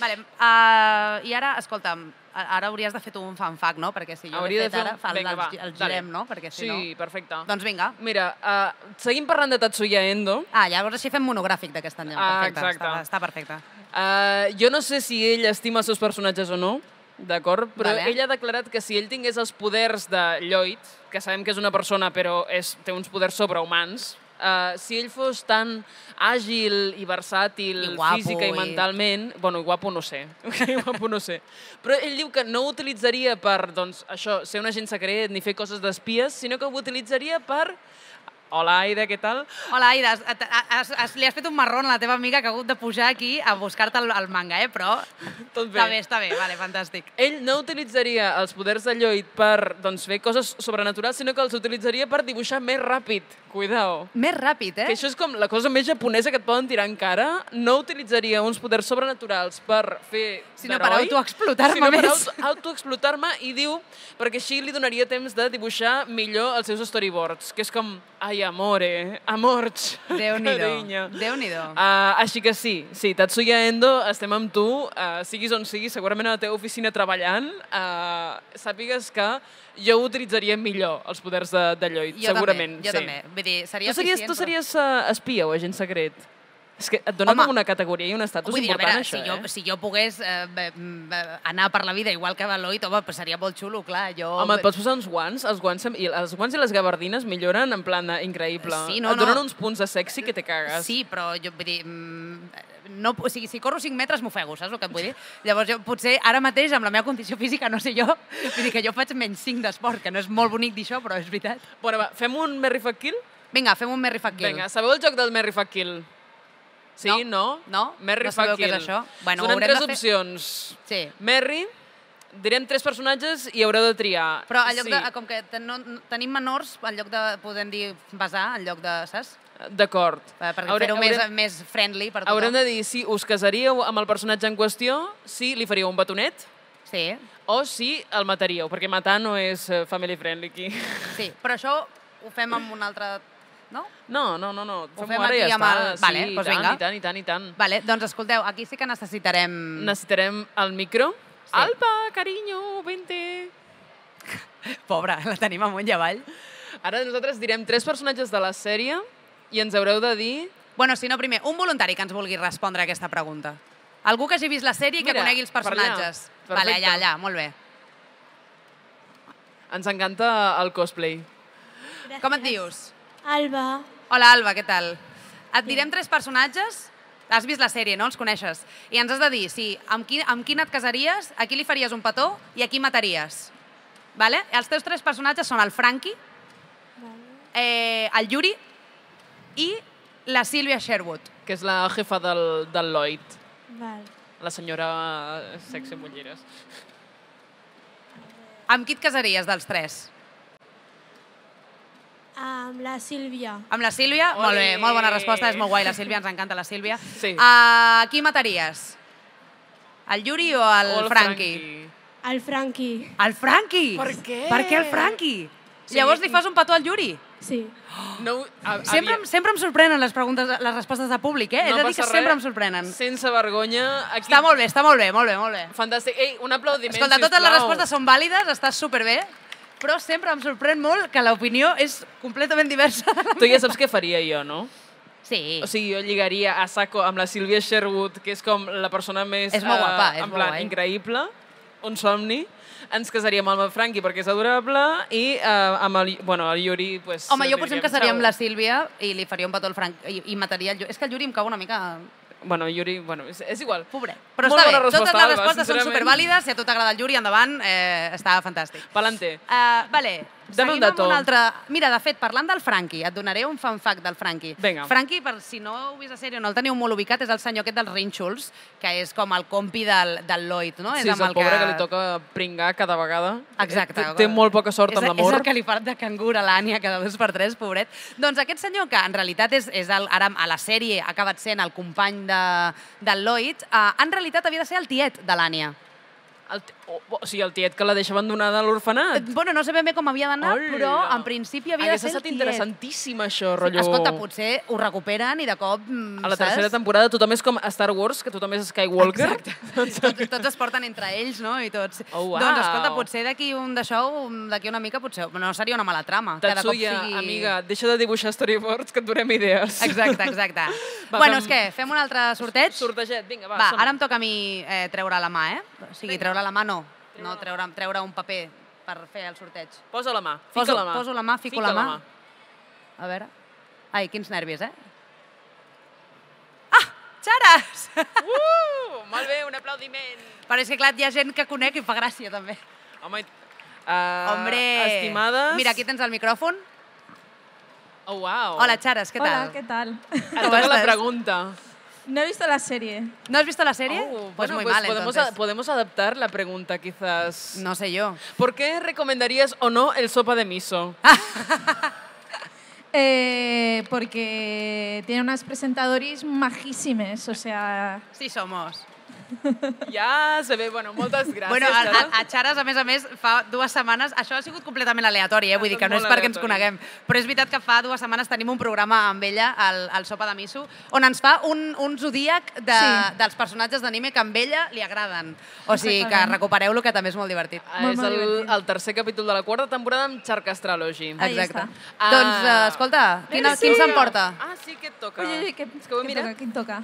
Speaker 2: Vale, uh, I ara, escolta'm, a- ara hauries de fer tu un fanfac, no? Perquè si jo
Speaker 1: Hauria
Speaker 2: l'he
Speaker 1: de fer
Speaker 2: fet
Speaker 1: un...
Speaker 2: ara, fa,
Speaker 1: Vinga,
Speaker 2: el,
Speaker 1: va,
Speaker 2: gi- el
Speaker 1: dale.
Speaker 2: girem, no? Perquè si
Speaker 1: sí,
Speaker 2: no...
Speaker 1: perfecte.
Speaker 2: Doncs vinga.
Speaker 1: Mira, uh, seguim parlant de Tatsuya Endo.
Speaker 2: Ah, llavors així fem monogràfic d'aquest any.
Speaker 1: Ah,
Speaker 2: perfecte,
Speaker 1: exacte.
Speaker 2: Està, està perfecte.
Speaker 1: Uh, jo no sé si ell estima els seus personatges o no, d'acord? Però
Speaker 2: Vale.
Speaker 1: ell ha declarat que si ell tingués els poders de Lloyd, que sabem que és una persona però és, té uns poders sobrehumans, eh, si ell fos tan àgil i versàtil
Speaker 2: I guapo,
Speaker 1: física i
Speaker 2: i-
Speaker 1: mentalment, bueno, i guapo no sé, guapo no sé, però ell diu que no ho utilitzaria per, doncs, això, ser un agent secret ni fer coses d'espies, sinó que ho utilitzaria per... Hola, Aida, què tal?
Speaker 2: Hola, Aida, has- et- has, has, li has fet un marrón a la teva amiga que ha hagut de pujar aquí a buscar-te el, el manga, eh? Però
Speaker 1: Tot Doncs bé.
Speaker 2: està bé, està bé, vale, fantàstic.
Speaker 1: Ell no utilitzaria els poders de Lloyd per doncs, fer coses sobrenaturals, sinó que els utilitzaria per dibuixar més ràpid. Cuidao.
Speaker 2: Més ràpid, eh?
Speaker 1: Que això és com la cosa més japonesa que et poden tirar en cara. No utilitzaria uns poders sobrenaturals per fer
Speaker 2: Sinó per
Speaker 1: d'heroi,
Speaker 2: autoexplotar-me
Speaker 1: sinó per
Speaker 2: més.
Speaker 1: auto- autoexplotar-me i diu, perquè així li donaria temps de dibuixar millor els seus storyboards, que és com, ai, amore, amorts,
Speaker 2: Déu-n'hi-do,
Speaker 1: carinyo.
Speaker 2: Déu-n'hi-do.
Speaker 1: Uh, així que sí, sí, Tatsuya Endo, estem amb tu, uh, siguis on siguis, segurament a la teva oficina treballant, uh, sàpigues que jo utilitzaria millor els poders de, de Lloyd,
Speaker 2: Jo
Speaker 1: segurament.
Speaker 2: També, jo
Speaker 1: sí.
Speaker 2: també. Vull dir, seria
Speaker 1: Tu series,
Speaker 2: eficient,
Speaker 1: tu
Speaker 2: però-
Speaker 1: series uh, espia o agent secret? És que et dona
Speaker 2: Home.
Speaker 1: com una categoria i un estatus
Speaker 2: Vull dir, a
Speaker 1: important,
Speaker 2: veure,
Speaker 1: això,
Speaker 2: si, jo,
Speaker 1: eh?
Speaker 2: si jo pogués eh, bé, mm, bé, anar per la vida igual que Valoit, home, pues seria molt xulo, clar. Jo...
Speaker 1: Home, et pots posar uns guants, els guants, sem- i els guants i les gabardines milloren en plan eh, increïble.
Speaker 2: Sí, no,
Speaker 1: et donen
Speaker 2: no.
Speaker 1: uns punts de sexy que te cagues.
Speaker 2: Sí, però jo vull dir... mm, No, o sigui, si corro 5 metres m'ofego, saps el que et vull dir? Llavors, jo, potser ara mateix, amb la meva condició física, no sé jo, vull dir que jo faig menys 5 d'esport, que no és molt bonic dir això, però és veritat.
Speaker 1: Bueno, va, fem un Merry Fuck Kill?
Speaker 2: Vinga, fem un Merry Fuck Kill.
Speaker 1: Vinga, sabeu el joc del Merry Fuck Kill? Sí, no?
Speaker 2: No,
Speaker 1: Merry
Speaker 2: no
Speaker 1: Fuck
Speaker 2: sabeu què
Speaker 1: Kill.
Speaker 2: és això? Bueno,
Speaker 1: Donem
Speaker 2: haurem
Speaker 1: tres
Speaker 2: de fer-
Speaker 1: opcions.
Speaker 2: Sí.
Speaker 1: Merry, direm tres personatges i haureu de triar.
Speaker 2: Però en lloc
Speaker 1: sí.
Speaker 2: sí. de, com que ten, no, no- tenim menors, en lloc de, podem dir, basar, en lloc de, saps?
Speaker 1: D'acord.
Speaker 2: Per, per
Speaker 1: Haure-
Speaker 2: fer-ho més,
Speaker 1: haurem-
Speaker 2: més friendly per tothom.
Speaker 1: Haurem de dir si us casaríeu amb el personatge en qüestió, si li faríeu un batonet
Speaker 2: Sí,
Speaker 1: o si el mataríeu, perquè matar no és eh, family friendly aquí.
Speaker 2: sí. Però això ho fem amb un altre... No?
Speaker 1: No, no, no, no.
Speaker 2: Ho
Speaker 1: Fem-ho
Speaker 2: fem
Speaker 1: ara i
Speaker 2: aquí
Speaker 1: ja
Speaker 2: amb
Speaker 1: està.
Speaker 2: el- Vale,
Speaker 1: sí,
Speaker 2: doncs
Speaker 1: i tant,
Speaker 2: vinga.
Speaker 1: i tant, i tant, i tant.
Speaker 2: Vale, doncs escolteu, aquí sí que necessitarem...
Speaker 1: Necessitarem el micro.
Speaker 2: Sí.
Speaker 1: Alpa, carinyo, vente.
Speaker 2: Pobra, la tenim amunt i avall.
Speaker 1: Ara nosaltres direm tres personatges de la sèrie i ens haureu de dir...
Speaker 2: Bueno, si no, primer, un voluntari que ens vulgui respondre a aquesta pregunta. Algú que hagi vist la sèrie i que
Speaker 1: Mira,
Speaker 2: conegui els
Speaker 1: per allà.
Speaker 2: personatges.
Speaker 1: Perfecte.
Speaker 2: Vale, allà, allà, molt bé.
Speaker 1: Ens encanta el cosplay.
Speaker 4: Gràcies.
Speaker 2: Com et dius?
Speaker 4: Alba.
Speaker 2: Hola, Alba, què tal? Et direm tres personatges. Has vist la sèrie, no? Els coneixes. I ens has de dir si amb qui, amb quin et casaries, a qui li faries un petó i a qui mataries. Vale? Els teus tres personatges són el Frankie, eh, el Yuri i la Sílvia Sherwood.
Speaker 1: que és la jefa del, del Lloyd,
Speaker 4: Val.
Speaker 1: la senyora eh, sexy amb ulleres.
Speaker 2: Amb qui et casaries dels tres?
Speaker 4: Amb la Sílvia.
Speaker 2: Amb la Sílvia?
Speaker 1: Ole!
Speaker 2: Molt bé, molt bona resposta, és molt guai la Sílvia, ens encanta la Sílvia.
Speaker 1: Sí.
Speaker 2: A qui mataries? El Yuri o el,
Speaker 1: O
Speaker 2: Frankie?
Speaker 4: El Franqui.
Speaker 2: El Frankie!
Speaker 1: Per què?
Speaker 2: Per què el Frankie?
Speaker 1: Sí.
Speaker 2: Llavors li fas un petó al Yuri?
Speaker 4: Sí.
Speaker 1: No, a,
Speaker 2: Sempre, em- sempre em sorprenen les, preguntes, les respostes de públic, eh? He de dir que
Speaker 1: passa
Speaker 2: sempre
Speaker 1: res.
Speaker 2: em sorprenen.
Speaker 1: Sense vergonya. Aquí...
Speaker 2: Està molt bé, està molt bé, molt bé, molt bé.
Speaker 1: Fantàstic. Ei, un aplaudiment,
Speaker 2: Escolta, totes les
Speaker 1: sisplau.
Speaker 2: respostes són vàlides, està superbé, però sempre em sorprèn molt que l'opinió és completament diversa.
Speaker 1: Tu ja saps què faria jo, no?
Speaker 2: Sí.
Speaker 1: O sigui, jo lligaria a saco amb la Sílvia Sherwood, que és com la persona més...
Speaker 2: És molt
Speaker 1: eh,
Speaker 2: guapa, és
Speaker 1: en
Speaker 2: molt
Speaker 1: plan,
Speaker 2: guai.
Speaker 1: increïble, un somni. Ens casaríem amb el Frankie perquè és adorable i eh, amb el, bueno, el Yuri... Pues,
Speaker 2: Home,
Speaker 1: li
Speaker 2: jo potser em
Speaker 1: diríem,
Speaker 2: casaria amb la
Speaker 1: "Ciao".
Speaker 2: Sílvia i li faria un petó al Frank i, i mataria el Yuri. És que el Yuri em cau una mica...
Speaker 1: Bueno, Yuri, bueno, és, és igual.
Speaker 2: Pobre. Però
Speaker 1: Molt
Speaker 2: està bé,
Speaker 1: bona resposta,
Speaker 2: totes les
Speaker 1: Alba,
Speaker 2: respostes són
Speaker 1: sincerament.
Speaker 2: supervàlides. Si a tu t'agrada el Yuri, endavant, eh, està fantàstic.
Speaker 1: Palante.
Speaker 2: Uh, vale,
Speaker 1: Dame un
Speaker 2: seguim amb
Speaker 1: dato.
Speaker 2: un altre... Mira, de fet, parlant del Franqui, et donaré un fan fact del Franqui.
Speaker 1: Vinga.
Speaker 2: Franqui, per si no ho vist a sèrie o no el teniu molt ubicat, és el senyor aquest dels rínxols, que és com el compi del, del Lloyd, no?
Speaker 1: Sí, és el pobre que... li toca pringar cada vegada.
Speaker 2: Exacte.
Speaker 1: Té, té molt poca sort
Speaker 2: És-
Speaker 1: amb
Speaker 2: És
Speaker 1: l'amor.
Speaker 2: el que li part de cangur a l'Ània cada dos per tres, pobret. Doncs aquest senyor, que en realitat és, és el, ara a la sèrie ha acabat sent el company de, del Lloyd, eh, en realitat havia de ser el tiet de l'Ània.
Speaker 1: El, t- o, o sigui, el tiet que la deixa abandonada a l'orfenat.
Speaker 2: Eh, Bueno, no sé ben bé com havia d'anar, però
Speaker 1: Hola.
Speaker 2: en principi havia
Speaker 1: Hagués
Speaker 2: de ser el
Speaker 1: estat
Speaker 2: tiet.
Speaker 1: interessantíssim, això, rotllo...
Speaker 2: Escolta, potser ho recuperen i de cop... mm,
Speaker 1: A la
Speaker 2: saps?
Speaker 1: tercera temporada tothom és com a Star Wars, que tothom és Skywalker. Doncs
Speaker 2: Tots, tots es porten entre ells, no? I tots.
Speaker 1: Oh, uau.
Speaker 2: Doncs escolta, potser d'aquí un d'això, un- d'aquí una mica, potser no seria una mala trama. que de cop
Speaker 1: Tatsuya,
Speaker 2: sigui...
Speaker 1: amiga, deixa de dibuixar storyboards que et donem idees.
Speaker 2: Exacte, exacte.
Speaker 1: Va,
Speaker 2: bueno,
Speaker 1: fem-
Speaker 2: és que fem un altre sorteig.
Speaker 1: Sorteget, vinga, va.
Speaker 2: Va,
Speaker 1: som-hi.
Speaker 2: ara em toca a mi eh, treure la mà, eh? O sigui, treure la mà no, no treure, treure un paper per fer el sorteig.
Speaker 1: Posa la mà, fica
Speaker 2: Poso-
Speaker 1: la mà.
Speaker 2: poso la mà, fico
Speaker 1: Fica
Speaker 2: la mà. A veure... Ai, quins nervis, eh? Ah, xares!
Speaker 1: Uh, molt bé, un aplaudiment.
Speaker 2: Però és que, clar, hi ha gent que conec i fa gràcia, també.
Speaker 1: Home, uh,
Speaker 2: Hombre!
Speaker 1: estimades...
Speaker 2: Mira, aquí tens el micròfon.
Speaker 1: Oh, wow.
Speaker 2: Hola, Xares, què
Speaker 5: Hola,
Speaker 2: tal?
Speaker 5: ¿qué tal?
Speaker 1: Et
Speaker 2: com
Speaker 1: toca la
Speaker 2: estàs?
Speaker 1: pregunta.
Speaker 5: No he visto la serie.
Speaker 2: ¿No has visto la serie?
Speaker 1: Oh,
Speaker 2: pues
Speaker 1: bueno,
Speaker 2: muy
Speaker 1: pues
Speaker 2: mal,
Speaker 1: podemos,
Speaker 2: entonces.
Speaker 1: a- podemos adaptar la pregunta, quizás.
Speaker 2: No sé yo.
Speaker 1: ¿Por qué recomendarías o no el sopa de miso?
Speaker 2: Ah.
Speaker 5: Eh, porque tiene unas presentadoras majísimes, o sea...
Speaker 2: Sí somos.
Speaker 1: ja se ve, bueno, moltes gràcies.
Speaker 2: bueno, a,
Speaker 1: Sara.
Speaker 2: a, a Xares, a més a més, fa dues setmanes... Això ha sigut completament aleatori, eh? Vull
Speaker 1: Ha
Speaker 2: dir que no
Speaker 1: estat
Speaker 2: és
Speaker 1: molt
Speaker 2: perquè ens
Speaker 1: aleatori.
Speaker 2: coneguem. Però és veritat que fa dues setmanes tenim un programa amb ella, al, al Sopa de Miso, on ens fa un, un zodíac de,
Speaker 5: Sí.
Speaker 2: dels personatges d'anime que a ella li agraden. O sigui que
Speaker 5: Exactament.
Speaker 2: recupereu-lo, que també és molt divertit.
Speaker 5: molt,
Speaker 1: Ah, és
Speaker 5: molt
Speaker 1: el,
Speaker 5: divertit.
Speaker 1: el tercer capítol de la quarta temporada amb Charca Astrology.
Speaker 5: Ahí està.
Speaker 2: Exacte.
Speaker 1: Ah.
Speaker 2: Doncs, eh, escolta, quina,
Speaker 5: sí.
Speaker 2: quin s'emporta?
Speaker 1: Ah, sí que et toca.
Speaker 5: Oye, oye, ¿qué,
Speaker 1: És que ho he
Speaker 5: qué toca?
Speaker 1: mirat.
Speaker 5: ¿Qué toca?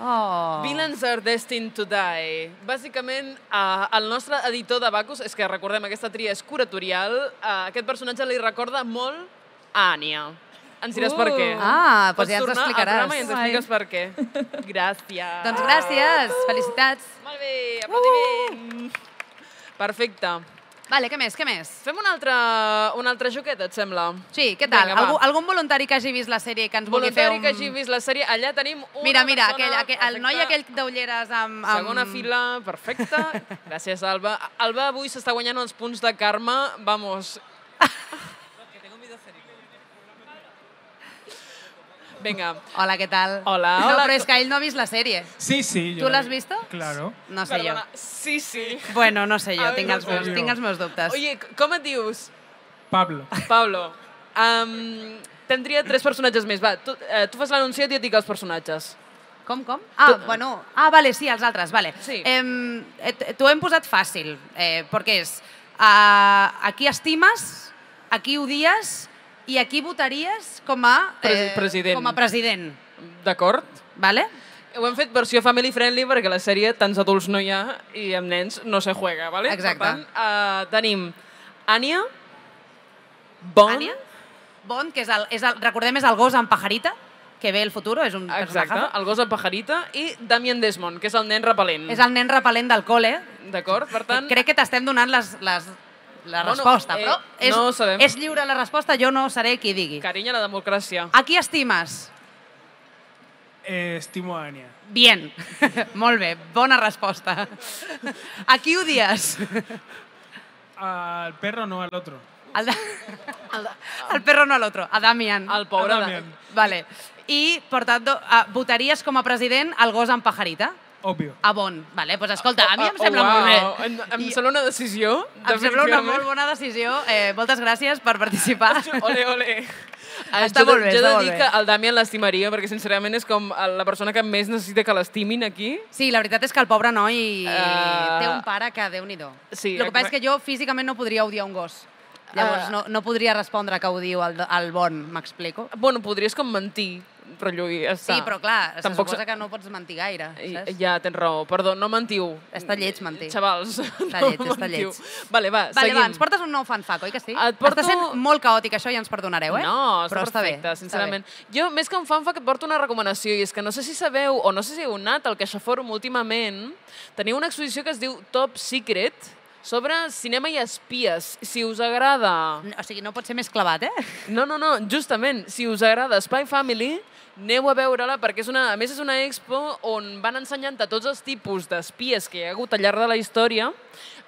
Speaker 2: Oh.
Speaker 1: Villains are destined to die. Bàsicament, eh, el nostre editor de Bacus, és que recordem, aquesta tria és curatorial, eh, aquest personatge li recorda molt a Ània. Ens diràs per què.
Speaker 5: Uh.
Speaker 2: Ah, doncs
Speaker 1: Pots
Speaker 2: ja ens
Speaker 1: tornar al
Speaker 2: explicaràs.
Speaker 1: programa I ens
Speaker 5: Guai.
Speaker 1: expliques per què. Gràcies.
Speaker 2: Doncs gràcies, Uh. felicitats.
Speaker 1: Molt bé, aplaudiment. Perfecte.
Speaker 2: Vale, què més, què més?
Speaker 1: Fem un altre, un altre joquet, et sembla?
Speaker 2: Sí, què tal?
Speaker 1: Vinga, va.
Speaker 2: Algú, algun voluntari que hagi vist la sèrie i que ens vulgui fer
Speaker 1: Voluntari
Speaker 2: un...
Speaker 1: que hagi vist la sèrie, allà tenim una
Speaker 2: Mira, mira,
Speaker 1: persona,
Speaker 2: aquell, aquell, el noi
Speaker 1: perfecte.
Speaker 2: aquell d'ulleres amb, amb...
Speaker 1: Segona fila, perfecte. Gràcies, Alba. Alba avui s'està guanyant els punts de karma. Vamos. Vinga.
Speaker 2: Hola, què tal?
Speaker 1: Hola,
Speaker 2: No,
Speaker 1: hola.
Speaker 2: però és que ell no ha vist la sèrie.
Speaker 6: Sí, sí. yo
Speaker 2: ¿Tú
Speaker 6: la
Speaker 2: la has
Speaker 6: vi.
Speaker 2: visto?
Speaker 6: Claro.
Speaker 2: No sé jo.
Speaker 1: Perdona. Sí, sí.
Speaker 2: Bueno, no sé jo,
Speaker 1: Ai,
Speaker 2: tinc
Speaker 1: no
Speaker 2: els,
Speaker 1: sé
Speaker 2: meus,
Speaker 6: jo.
Speaker 2: tinc els meus dubtes.
Speaker 1: Oye, com et dius,
Speaker 6: Pablo.
Speaker 1: Pablo? Um, tindria tres personatges més. Va, tu, eh, tu fas l'anunciat i jo et dic els personatges.
Speaker 2: Com, com? Ah, bueno. Ah, vale, sí, els altres, vale.
Speaker 1: Sí.
Speaker 2: Em, Eh, t- T'ho hem posat fàcil, eh, perquè és eh, a qui estimes, a qui odies i a qui votaries com a, eh,
Speaker 1: Presi- president.
Speaker 2: Com a president,
Speaker 1: D'acord?
Speaker 2: vale?
Speaker 1: Ho hem fet versió family friendly perquè la sèrie tants adults no hi ha i amb nens no se juega, vale?
Speaker 2: Exacte.
Speaker 1: Per tant, eh, tenim Ània, Bon,
Speaker 2: Ània? Bond, que és el, és el, recordem, és el gos amb pajarita, que ve el futur, és un
Speaker 1: Exacte,
Speaker 2: personatge.
Speaker 1: el gos de pajarita i Damien Desmond, que és el nen repel·lent.
Speaker 2: És el nen repel·lent del col·le.
Speaker 1: D'acord? Per tant,
Speaker 2: Crec que t'estem donant les, les, la
Speaker 1: Bueno,
Speaker 2: resposta,
Speaker 1: eh,
Speaker 2: però és,
Speaker 1: no ho sabem.
Speaker 2: és lliure la resposta, jo no seré qui digui.
Speaker 1: carinyo a la democràcia.
Speaker 2: A qui estimes?
Speaker 6: Eh, estimo a Ania.
Speaker 2: Bien. Molt bé, bona resposta. A qui odies?
Speaker 6: Al perro, no al otro.
Speaker 2: El, de... el, de... el perro no a l'altre, a Damian.
Speaker 1: El pobre...
Speaker 6: A
Speaker 1: de...
Speaker 6: Damien.
Speaker 2: Vale. I, per tant, do- ah, votaries com a president el gos amb pajarita?
Speaker 6: Obvio.
Speaker 2: A Bon. Vale, doncs escolta, a mi em sembla
Speaker 1: oh,
Speaker 2: molt
Speaker 1: wow.
Speaker 2: bé.
Speaker 1: Em, em sembla una decisió.
Speaker 2: Em sembla una
Speaker 1: definitivament.
Speaker 2: molt bona decisió. Eh, moltes gràcies per participar.
Speaker 1: Ole, ole. Eh,
Speaker 2: Està
Speaker 1: jo de-
Speaker 2: molt bé,
Speaker 1: Jo he de
Speaker 2: està molt
Speaker 1: dir
Speaker 2: bé.
Speaker 1: que el Damien l'estimaria, perquè sincerament és com la persona que més necessita que l'estimin aquí.
Speaker 2: Sí, la veritat és que el pobre noi
Speaker 1: Eh,
Speaker 2: té un pare que déu-n'hi-do.
Speaker 1: sí,
Speaker 2: el que passa és
Speaker 1: exacte.
Speaker 2: que jo físicament no podria odiar un gos. Llavors
Speaker 1: Eh,
Speaker 2: no, no podria respondre que odio el, el bon, m'explico?
Speaker 1: Bueno, podries com mentir, rotllo, i ja està.
Speaker 2: Sí, però clar,
Speaker 1: Tampoc
Speaker 2: se suposa
Speaker 1: se-
Speaker 2: que no pots mentir gaire,
Speaker 1: I-
Speaker 2: saps?
Speaker 1: Ja, tens raó. Perdó, no mentiu.
Speaker 2: Està lleig mentir.
Speaker 1: Xavals,
Speaker 2: Està
Speaker 1: no
Speaker 2: lleig, està
Speaker 1: mentiu.
Speaker 2: lleig.
Speaker 1: Vale, va,
Speaker 2: Vale,
Speaker 1: seguim.
Speaker 2: va, ens portes un nou fanfac, oi que sí?
Speaker 1: Et porto-
Speaker 2: Està sent molt caòtic això i ens perdonareu, eh?
Speaker 1: No, està
Speaker 2: Però està bé,
Speaker 1: perfecte,
Speaker 2: està bé.
Speaker 1: sincerament. Jo, més que un fan, fa que et porto una recomanació, i és que no sé si sabeu o no sé si heu anat al Caixafòrum últimament, teniu una exposició que es diu Top Secret, sobre cinema i espies. Si us agrada...
Speaker 2: O sigui, no pot ser més clavat, eh?
Speaker 1: No, no, no, justament, si us agrada Spy Family, aneu a veure-la perquè és una, a més és una expo on van ensenyant a tots els tipus d'espies que hi ha hagut al llarg de la història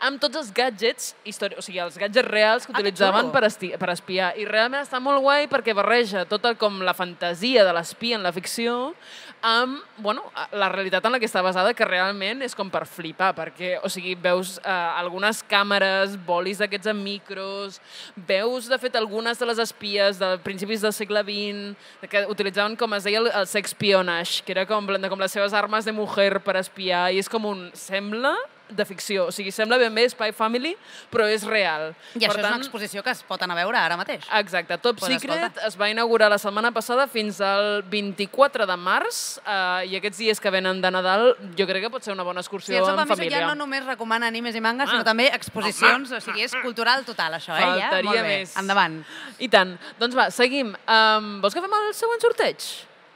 Speaker 1: amb tots els gadgets, història, o sigui, els gadgets reals que
Speaker 2: Ah, que
Speaker 1: utilitzaven
Speaker 2: xulo.
Speaker 1: per, esti, per espiar. I realment està molt guai perquè barreja tota com la fantasia de l'espia en la ficció amb, bueno, la realitat en la que està basada, que realment és com per flipar, perquè, o sigui, veus eh, algunes càmeres, bolis d'aquests amb micros, veus, de fet, algunes de les espies de principis del segle XX, que utilitzaven, com es deia, el, el sexpionage, que era com, en plan de, com les seves armes de mujer per espiar, i és com un... Sembla de ficció. O sigui, sembla ben bé Spy Family, però és real.
Speaker 2: I això és una exposició que es pot anar a veure ara mateix.
Speaker 1: Exacte, Top
Speaker 2: Pues
Speaker 1: Secret
Speaker 2: escolta.
Speaker 1: es va inaugurar la setmana passada fins al 24 de març eh, i aquests dies que venen de Nadal jo crec que pot ser una bona
Speaker 2: Sí,
Speaker 1: excursió
Speaker 2: el
Speaker 1: en
Speaker 2: Sopa Miso
Speaker 1: família.
Speaker 2: ja no només recomana animes i mangas,
Speaker 1: Ah.
Speaker 2: sinó també exposicions, o sigui, és cultural total, això, eh? Ja?
Speaker 1: Faltaria
Speaker 2: Molt bé.
Speaker 1: més.
Speaker 2: Endavant.
Speaker 1: I tant. Doncs va, seguim. Um, vols que fem el següent sorteig?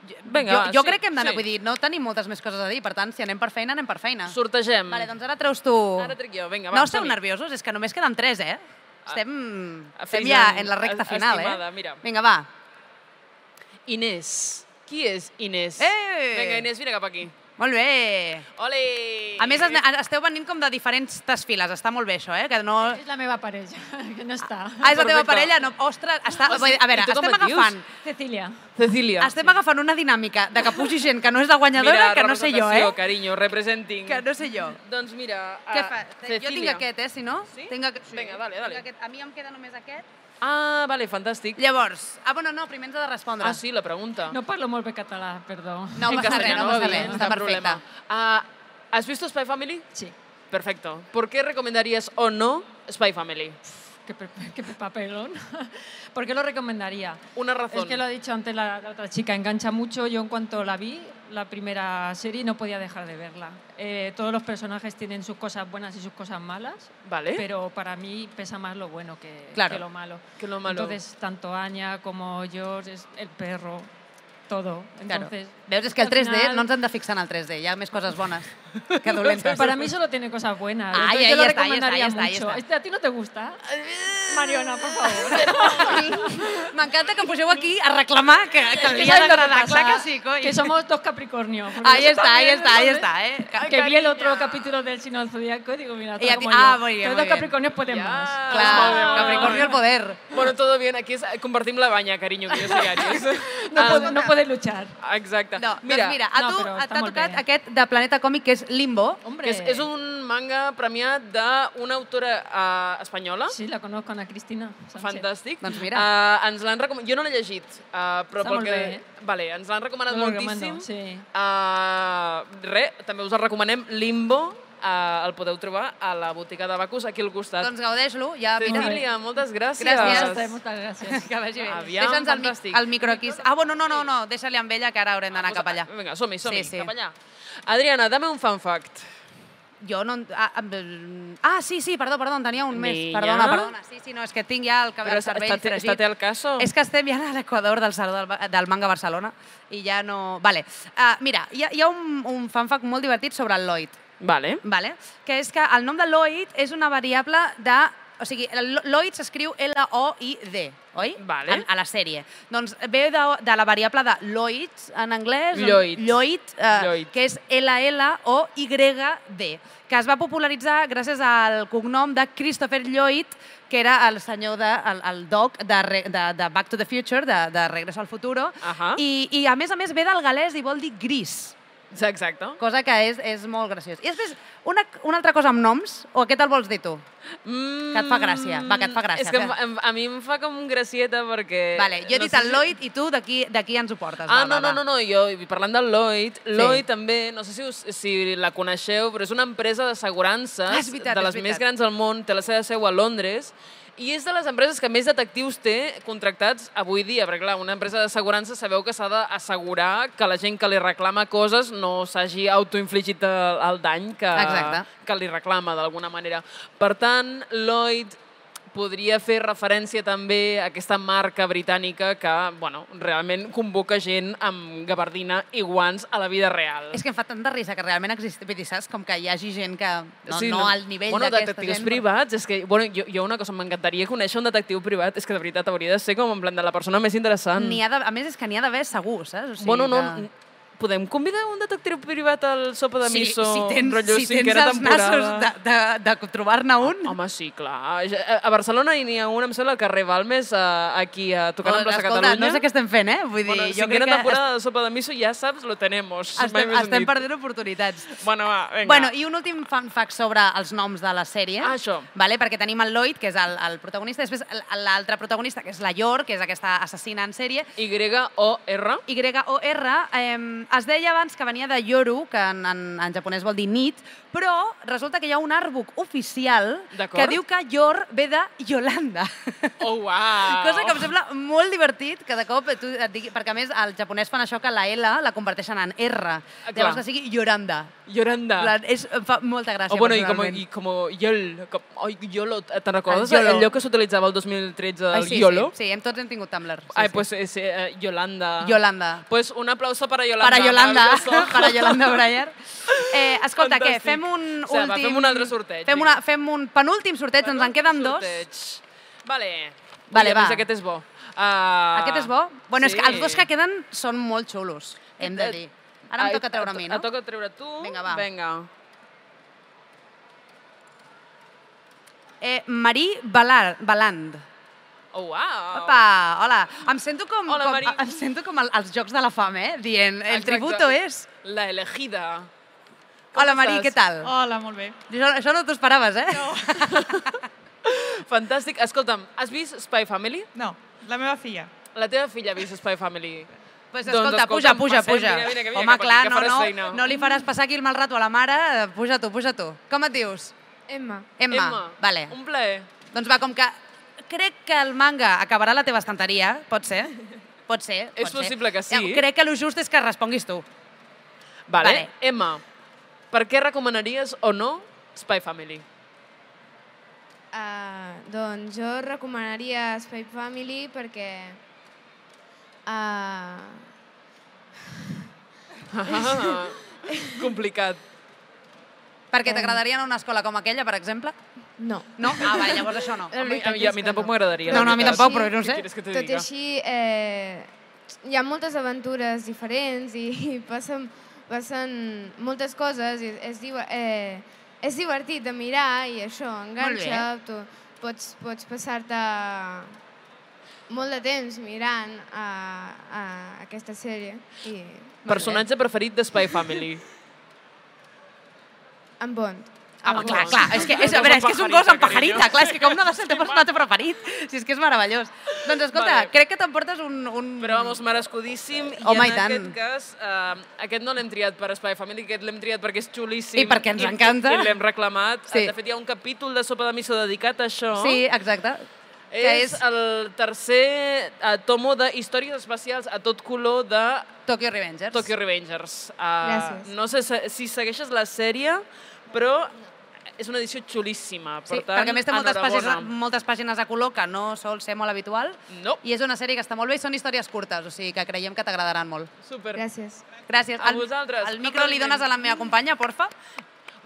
Speaker 2: jo,
Speaker 1: va,
Speaker 2: jo
Speaker 1: sí,
Speaker 2: crec que hem d'anar,
Speaker 1: sí.
Speaker 2: vull dir, no tenim moltes més coses a dir, per tant, si anem per feina, anem per feina.
Speaker 1: Sortegem.
Speaker 2: Vale, doncs ara treus tu...
Speaker 1: Ara trec jo, vinga, va,
Speaker 2: no esteu
Speaker 1: som-hi.
Speaker 2: nerviosos? És que només queden tres, eh? Estem,
Speaker 1: a
Speaker 2: estem
Speaker 1: fills
Speaker 2: ja
Speaker 1: en-
Speaker 2: en la recta
Speaker 1: es-
Speaker 2: final,
Speaker 1: estimada,
Speaker 2: eh?
Speaker 1: mira.
Speaker 2: Vinga, va.
Speaker 1: Inés. Qui és Inés?
Speaker 2: Eh!
Speaker 1: Vinga, Inés, vine cap aquí.
Speaker 2: Molt bé.
Speaker 1: Ole!
Speaker 2: A més, es- esteu venint com de diferents files. Està molt bé, això, eh? Que no...
Speaker 7: És la meva parella, que no està.
Speaker 2: Ah, és la teva
Speaker 1: Perfecte.
Speaker 2: parella? No, ostres, està...
Speaker 1: O sigui,
Speaker 2: a veure,
Speaker 1: i tu com
Speaker 2: estem
Speaker 1: et dius?
Speaker 2: agafant...
Speaker 7: Cecília.
Speaker 1: Cecília.
Speaker 2: Estem agafant una dinàmica de que pugi gent que no és la guanyadora,
Speaker 1: Mira,
Speaker 2: que no sé jo,
Speaker 1: representació,
Speaker 2: eh?
Speaker 1: carinyo, representing.
Speaker 2: Que no sé jo.
Speaker 1: Doncs mira,
Speaker 2: Què
Speaker 1: a
Speaker 2: fa? Jo eh, tinc
Speaker 1: Cecília.
Speaker 2: aquest, eh, si no?
Speaker 1: Sí?
Speaker 2: Tinc aqu-
Speaker 1: Sí. Vinga, dale, dale.
Speaker 2: Tinc aquest. A mi em queda només aquest.
Speaker 1: Ah, vale, fantàstic.
Speaker 2: Llavors, ah, bueno, no, primer ens ha de respondre.
Speaker 1: Ah, sí, la pregunta.
Speaker 7: No parlo molt bé català, perdó.
Speaker 2: No
Speaker 1: En
Speaker 2: passa res,
Speaker 1: castellano
Speaker 2: no
Speaker 1: va
Speaker 2: passa
Speaker 1: bien,
Speaker 2: res,
Speaker 1: no
Speaker 2: està
Speaker 1: hay
Speaker 2: perfecta.
Speaker 1: problema. Ah, ¿Has visto Spy Family?
Speaker 7: Sí,
Speaker 1: Perfecto. ¿Por qué recomendarías o no Spy Family?
Speaker 7: qué, pe- qué pe- papelón. ¿Por qué lo recomendaría?
Speaker 1: Una razón.
Speaker 7: Es que lo ha dicho antes la, la otra chica, engancha mucho. Yo en cuanto la vi, la primera serie, no podía dejar de verla. Eh, todos los personajes tienen sus cosas buenas y sus cosas malas,
Speaker 1: Vale.
Speaker 7: pero para mí pesa más lo bueno que,
Speaker 2: Claro.
Speaker 7: que lo malo.
Speaker 1: Que lo malo.
Speaker 7: Entonces, tanto Anya como George, es el perro, todo.
Speaker 2: Claro.
Speaker 7: Entonces,
Speaker 2: Veus, és que el
Speaker 7: al
Speaker 2: 3D
Speaker 7: final-
Speaker 2: no ens hem de fixar en el 3D, hi ha més coses bones que dolentes.
Speaker 7: Para mí solo tiene cosas buenas.
Speaker 2: Ay,
Speaker 7: Entonces
Speaker 2: ahí
Speaker 7: yo lo
Speaker 2: está, ahí está, ahí
Speaker 7: recomendaría
Speaker 2: está, ahí
Speaker 7: mucho.
Speaker 2: está.
Speaker 7: Este, ¿A ti no te gusta? Mariona, por favor.
Speaker 2: M'encanta que em poseu aquí a reclamar que, que
Speaker 7: Que
Speaker 2: li ha
Speaker 7: ¿sabes lo que
Speaker 2: d'agradar.
Speaker 7: pasa?
Speaker 2: Clar que sí, coi.
Speaker 7: Que somos dos Capricornio. porque
Speaker 2: Ahí
Speaker 7: yo
Speaker 2: está, ahí
Speaker 7: también,
Speaker 2: está, ahí
Speaker 7: entonces,
Speaker 2: está, eh. Ca-
Speaker 7: Que vi el otro capítulo del Sino del Zodíaco y digo, mira,
Speaker 2: Y a
Speaker 7: está
Speaker 2: ti-
Speaker 7: como
Speaker 2: ah,
Speaker 7: yo.
Speaker 2: muy bien, muy
Speaker 7: Entonces, dos
Speaker 2: bien.
Speaker 7: Capricornios pueden
Speaker 1: Ya.
Speaker 7: más.
Speaker 2: Clar,
Speaker 1: Ah.
Speaker 2: Capricornio el poder.
Speaker 1: Bueno, todo bien, aquí es- compartimos la baña, cariño, que yo soy Aries.
Speaker 7: No,
Speaker 1: Ah,
Speaker 7: puede- no puede luchar.
Speaker 1: Exacto.
Speaker 2: No, mira, doncs mira, a
Speaker 7: no,
Speaker 2: tu
Speaker 7: però
Speaker 2: no,
Speaker 7: està
Speaker 2: t'ha
Speaker 7: molt
Speaker 2: tocat
Speaker 7: bé.
Speaker 2: aquest de Planeta Còmic, que és Limbo.
Speaker 7: Hombre.
Speaker 1: que es, es un manga premiado de una autora ah, española.
Speaker 7: Sí, la conozco, Ana Cristina. Sánchez.
Speaker 1: Fantàstic.
Speaker 2: Doncs mira.
Speaker 1: Uh, ens l'han recomanat... Jo no l'he llegit, uh, però
Speaker 7: Està
Speaker 1: pel
Speaker 7: molt
Speaker 1: que...
Speaker 7: bé, eh?
Speaker 1: Vale, ens l'han recomanat
Speaker 7: Te lo
Speaker 1: moltíssim.
Speaker 7: recomano, sí.
Speaker 1: Uh, re, també us el recomanem, Limbo, uh, el podeu trobar a la botiga de Bacus, aquí al costat.
Speaker 2: Doncs gaudeix-lo, ja mira.
Speaker 1: Cecília, moltes gràcies.
Speaker 7: Gracias, muchas gracias.
Speaker 2: Que vagi bé.
Speaker 1: Aviam,
Speaker 2: Deixa'ns el, mic,
Speaker 1: fantàstic. Ah,
Speaker 2: el micro aquí. Ah, bueno, no, no, no, deixa-li amb ella, que ara haurem d'anar cap allà.
Speaker 1: Vinga, som-hi, som-hi,
Speaker 2: Sí, sí.
Speaker 1: cap allà. Adriana, dame un fun fact.
Speaker 2: Jo no... en- Ah, em- ah, sí, sí, perdó, perdó, en tenia un més.
Speaker 1: Niña.
Speaker 2: Perdona, perdona. Sí, sí, no, és que tinc ja el, cabell,
Speaker 1: Però
Speaker 2: el cervell
Speaker 1: estate-
Speaker 2: fregit.
Speaker 1: estate al caso.
Speaker 2: És que estem ja a l'Equador del Saló del, Ba- del Manga Barcelona i ja no... Vale. Uh, mira, hi ha, hi ha un, un fanfac molt divertit sobre el Lloyd,
Speaker 1: Vale.
Speaker 2: vale? que és que el nom de Lloyd és una variable de... O sigui, el Lo- Lloyd s'escriu L-O-I-D, oi?
Speaker 1: Vale.
Speaker 2: En, a la sèrie. Doncs ve de, de la variable de Lloyd, en anglès, on-
Speaker 1: Lloyd.
Speaker 2: Lloyd, eh,
Speaker 1: Lloyd.
Speaker 2: que és L-L-O-Y-D, que es va popularitzar gràcies al cognom de Christopher Lloyd, que era el senyor de, el, el doc de, Re- de, de Back to the Future, de, de Regreso al Futuro,
Speaker 1: Ahà.
Speaker 2: I, i a més a més ve del galès i vol dir gris,
Speaker 1: Exacte.
Speaker 2: cosa que és, és molt graciós. I després, una, una altra cosa amb noms, o què te'l vols dir tu?
Speaker 1: Mm,
Speaker 2: Que et fa gràcia. Va, que et fa gràcia,
Speaker 1: És que em,
Speaker 2: fes.
Speaker 1: em, a mi em fa com gracieta perquè...
Speaker 2: Vale, jo he dit
Speaker 1: Eh, sé
Speaker 2: el
Speaker 1: si-
Speaker 2: Lloyd i tu d'aquí d'aquí ens ho portes.
Speaker 1: Ah,
Speaker 2: va,
Speaker 1: no,
Speaker 2: va,
Speaker 1: no,
Speaker 2: va.
Speaker 1: no, no, jo, i parlant del Lloyd, Lloyd també, no sé si, us, si la coneixeu, però és una empresa d'assegurances
Speaker 2: Ah, és veritat,
Speaker 1: de
Speaker 2: és
Speaker 1: les més
Speaker 2: veritat.
Speaker 1: grans del món, té la seva seu a Londres, i és de les empreses que més detectius té contractats avui dia, perquè clar, una empresa d'assegurances sabeu que s'ha d'assegurar que la gent que li reclama coses no s'hagi autoinfligit el, el dany que,
Speaker 2: Exacte.
Speaker 1: que li reclama d'alguna manera. Per tant, Lloyd podria fer referència també a aquesta marca britànica que, bueno, realment convoca gent amb gabardina i guants a la vida real.
Speaker 2: És que em fa tanta risa que realment existeix, vull dir, saps? Com que hi hagi gent que no,
Speaker 1: Sí,
Speaker 2: no, al nivell
Speaker 1: bueno,
Speaker 2: d'aquesta
Speaker 1: detectius
Speaker 2: gent...
Speaker 1: privats, és que, bueno, jo, jo una cosa, m'encantaria conèixer un detectiu privat, és que de veritat hauria de ser com en plan de la persona més interessant.
Speaker 2: N'hi ha de, a més, és que n'hi ha d'haver segur, saps? O sigui,
Speaker 1: bueno, no,
Speaker 2: que...
Speaker 1: podem convidar un detectiu privat al sopa de
Speaker 2: si,
Speaker 1: miso,
Speaker 2: si tens,
Speaker 1: rotllo
Speaker 2: si tens
Speaker 1: cinquena
Speaker 2: els
Speaker 1: temporada.
Speaker 2: nassos de, de, de trobar-ne un...
Speaker 1: Home, sí, clar. A- A Barcelona n'hi ha una, em sembla, al carrer Balmes, a- aquí a Tocant amb la
Speaker 2: Oh, doncs Escolta,
Speaker 1: Catalunya.
Speaker 2: no sé què estem fent, eh? Vull dir,
Speaker 1: Bueno,
Speaker 2: jo
Speaker 1: cinquena
Speaker 2: crec que
Speaker 1: temporada de Sopa de Miso, ja saps, lo tenemos.
Speaker 2: est-
Speaker 1: mai
Speaker 2: estem,
Speaker 1: més
Speaker 2: estem
Speaker 1: dit.
Speaker 2: perdent oportunitats.
Speaker 1: Bueno, va, vinga.
Speaker 2: Bueno, i un últim fun fact sobre els noms de la sèrie.
Speaker 1: Ah, això.
Speaker 2: Vale, perquè tenim el Lloyd, que és el, el protagonista, després l- l'altre protagonista, que és la Yor, que és aquesta assassina en sèrie,
Speaker 1: Y-O-R.
Speaker 2: Y-O-R, eh, es deia abans que venia de Yoru, que en, en, en japonès vol dir nit, però resulta que hi ha un artbook oficial que
Speaker 1: D'acord.
Speaker 2: diu que Yor ve de Yolanda.
Speaker 1: Oh, wow.
Speaker 2: Cosa que em sembla molt divertit que de cop tu et digui, perquè a més al japonès fan això que la L la converteixen en R, llavors
Speaker 1: Ah, clar.
Speaker 2: que sigui Yoranda.
Speaker 1: Lloranda.
Speaker 2: Ah. És, em fa molta gràcia.
Speaker 1: O Oh, bueno, i com,
Speaker 2: personalment.
Speaker 1: i com YOL, com, oi, YOLO, eh, te'n recordes?
Speaker 2: El YOLO.
Speaker 1: El lloc que s'utilitzava el 2013, el
Speaker 2: Ai, Ah, sí,
Speaker 1: YOLO?
Speaker 2: Sí, sí, hem tots hem tingut Tumblr. Sí,
Speaker 1: Ai,
Speaker 2: sí.
Speaker 1: pues ese, eh, Yolanda.
Speaker 2: Yolanda.
Speaker 1: Pues un aplauso para Yolanda.
Speaker 2: Para Yolanda,
Speaker 1: maravilloso.
Speaker 2: para Yolanda Breyer. Eh, escolta, què?
Speaker 1: Fantàstic.
Speaker 2: Fem un
Speaker 1: O sigui, va,
Speaker 2: últim...
Speaker 1: fem un altre sorteig,
Speaker 2: Fem,
Speaker 1: vinga.
Speaker 2: una, fem un penúltim sorteig, ens doncs en queden dos.
Speaker 1: Sorteig. Vale.
Speaker 2: Vale,
Speaker 1: Ui, a més,
Speaker 2: va.
Speaker 1: Aquest és bo. Ah,
Speaker 2: Aquest és bo? Bueno, és que els dos que queden són molt xulos, hem de
Speaker 1: Eh,
Speaker 2: dir. Ara
Speaker 1: Ai,
Speaker 2: em toca treure a mi, no?
Speaker 1: Et toca treure tu.
Speaker 2: Vinga, va.
Speaker 1: Vinga.
Speaker 2: Eh, Marie Balar, Baland.
Speaker 1: Oh, wow.
Speaker 2: Opa, hola. Em sento com,
Speaker 1: Hola,
Speaker 2: com,
Speaker 1: Marie.
Speaker 2: em sento com el, els Jocs de la Fam, eh? Dient, el
Speaker 1: Exacte.
Speaker 2: tributo és...
Speaker 1: La elegida.
Speaker 2: Hola,
Speaker 1: estàs?
Speaker 2: Marie,
Speaker 1: Oh.
Speaker 2: què tal?
Speaker 7: Hola, molt bé.
Speaker 2: Això, això no t'ho esperaves, eh? No.
Speaker 1: Fantàstic. Escolta'm, has vist Spy Family?
Speaker 8: No, la meva filla.
Speaker 1: La teva filla ha vist Spy Family.
Speaker 2: Pues
Speaker 1: Doncs
Speaker 2: escolta, puja,
Speaker 1: escolta'm,
Speaker 2: puja,
Speaker 1: passem,
Speaker 2: puja.
Speaker 1: vine, vine, que vine,
Speaker 2: Home,
Speaker 1: que per
Speaker 2: clar,
Speaker 1: aquí, que
Speaker 2: no,
Speaker 1: faràs
Speaker 2: no,
Speaker 1: feina.
Speaker 2: no li faràs passar aquí el mal rato a la mare. eh, Puja tu, puja tu. Com et dius?
Speaker 9: Emma.
Speaker 2: Emma. Vale.
Speaker 1: Un plaer.
Speaker 2: Doncs va, com que crec que el manga acabarà a la teva estanteria, pot ser? Pot ser, pot
Speaker 1: És
Speaker 2: ser.
Speaker 1: possible que sí.
Speaker 2: Eh, Crec que el just és que responguis tu.
Speaker 1: Vale.
Speaker 2: Vale.
Speaker 1: Emma, per què recomanaries o no Spy Family?
Speaker 9: Uh, doncs jo recomanaria Spy Family perquè... Uh,
Speaker 1: Ah, complicat.
Speaker 2: Perquè t'agradaria anar a una escola com aquella, per exemple?
Speaker 9: no.
Speaker 2: No? Ah, va, llavors això no.
Speaker 1: A mi, a,
Speaker 9: veritat
Speaker 1: mi- a
Speaker 9: és
Speaker 1: mi
Speaker 9: que
Speaker 1: tampoc
Speaker 9: no.
Speaker 1: m'agradaria.
Speaker 2: No,
Speaker 1: la
Speaker 2: no, a mi
Speaker 1: veritat.
Speaker 2: tampoc, però no
Speaker 1: Què
Speaker 2: sé.
Speaker 1: quieres que te
Speaker 9: Tot i
Speaker 1: diga?
Speaker 9: així, eh, hi ha moltes aventures diferents i, i passen, passen moltes coses. I és, diu, eh, és divertit de mirar i això, enganxa. Tu, pots pots passar-te molt de temps mirant a, a aquesta sèrie. I,
Speaker 1: Personatge preferit de Spy Family.
Speaker 9: en Bond.
Speaker 1: Un
Speaker 2: Home, Ah, clar,
Speaker 1: gos.
Speaker 2: clar, és que és,
Speaker 1: Un
Speaker 2: a veure, és
Speaker 1: gos
Speaker 2: que és un
Speaker 1: amb
Speaker 2: gos amb
Speaker 1: pajarita,
Speaker 2: pajarita, clar, és que com no ha de ser el teu personatge preferit? Si és que és meravellós. Doncs escolta,
Speaker 1: Vale.
Speaker 2: crec que t'emportes un... un...
Speaker 1: Però vamos, merescudíssim. I
Speaker 2: Home,
Speaker 1: en
Speaker 2: i tant.
Speaker 1: aquest cas, eh, aquest no l'hem triat per Spy Family, aquest l'hem triat perquè és xulíssim.
Speaker 2: I perquè ens encanta.
Speaker 1: I l'hem reclamat.
Speaker 2: Sí.
Speaker 1: Sí. De fet, hi ha un capítol de Sopa de Miso dedicat a això.
Speaker 2: Sí, exacte. que
Speaker 1: És,
Speaker 2: és-
Speaker 1: el tercer eh, tomo de històries espacials a tot color de
Speaker 2: Tokyo Revengers.
Speaker 1: Tokyo Revengers. Uh,
Speaker 9: Gràcies.
Speaker 1: no sé se- si segueixes la sèrie, però és una edició xulíssima. Per
Speaker 2: Sí,
Speaker 1: tant,
Speaker 2: perquè a més té moltes
Speaker 1: enhorabona.
Speaker 2: pàgines, moltes pàgines a color que no sol ser molt habitual
Speaker 1: No,
Speaker 2: i és una sèrie que està molt bé i són històries curtes, o sigui que creiem que t'agradaran molt.
Speaker 1: super.
Speaker 9: Gràcies.
Speaker 2: Gràcies.
Speaker 1: A vosaltres.
Speaker 2: El micro li dones a la meva companya, porfa,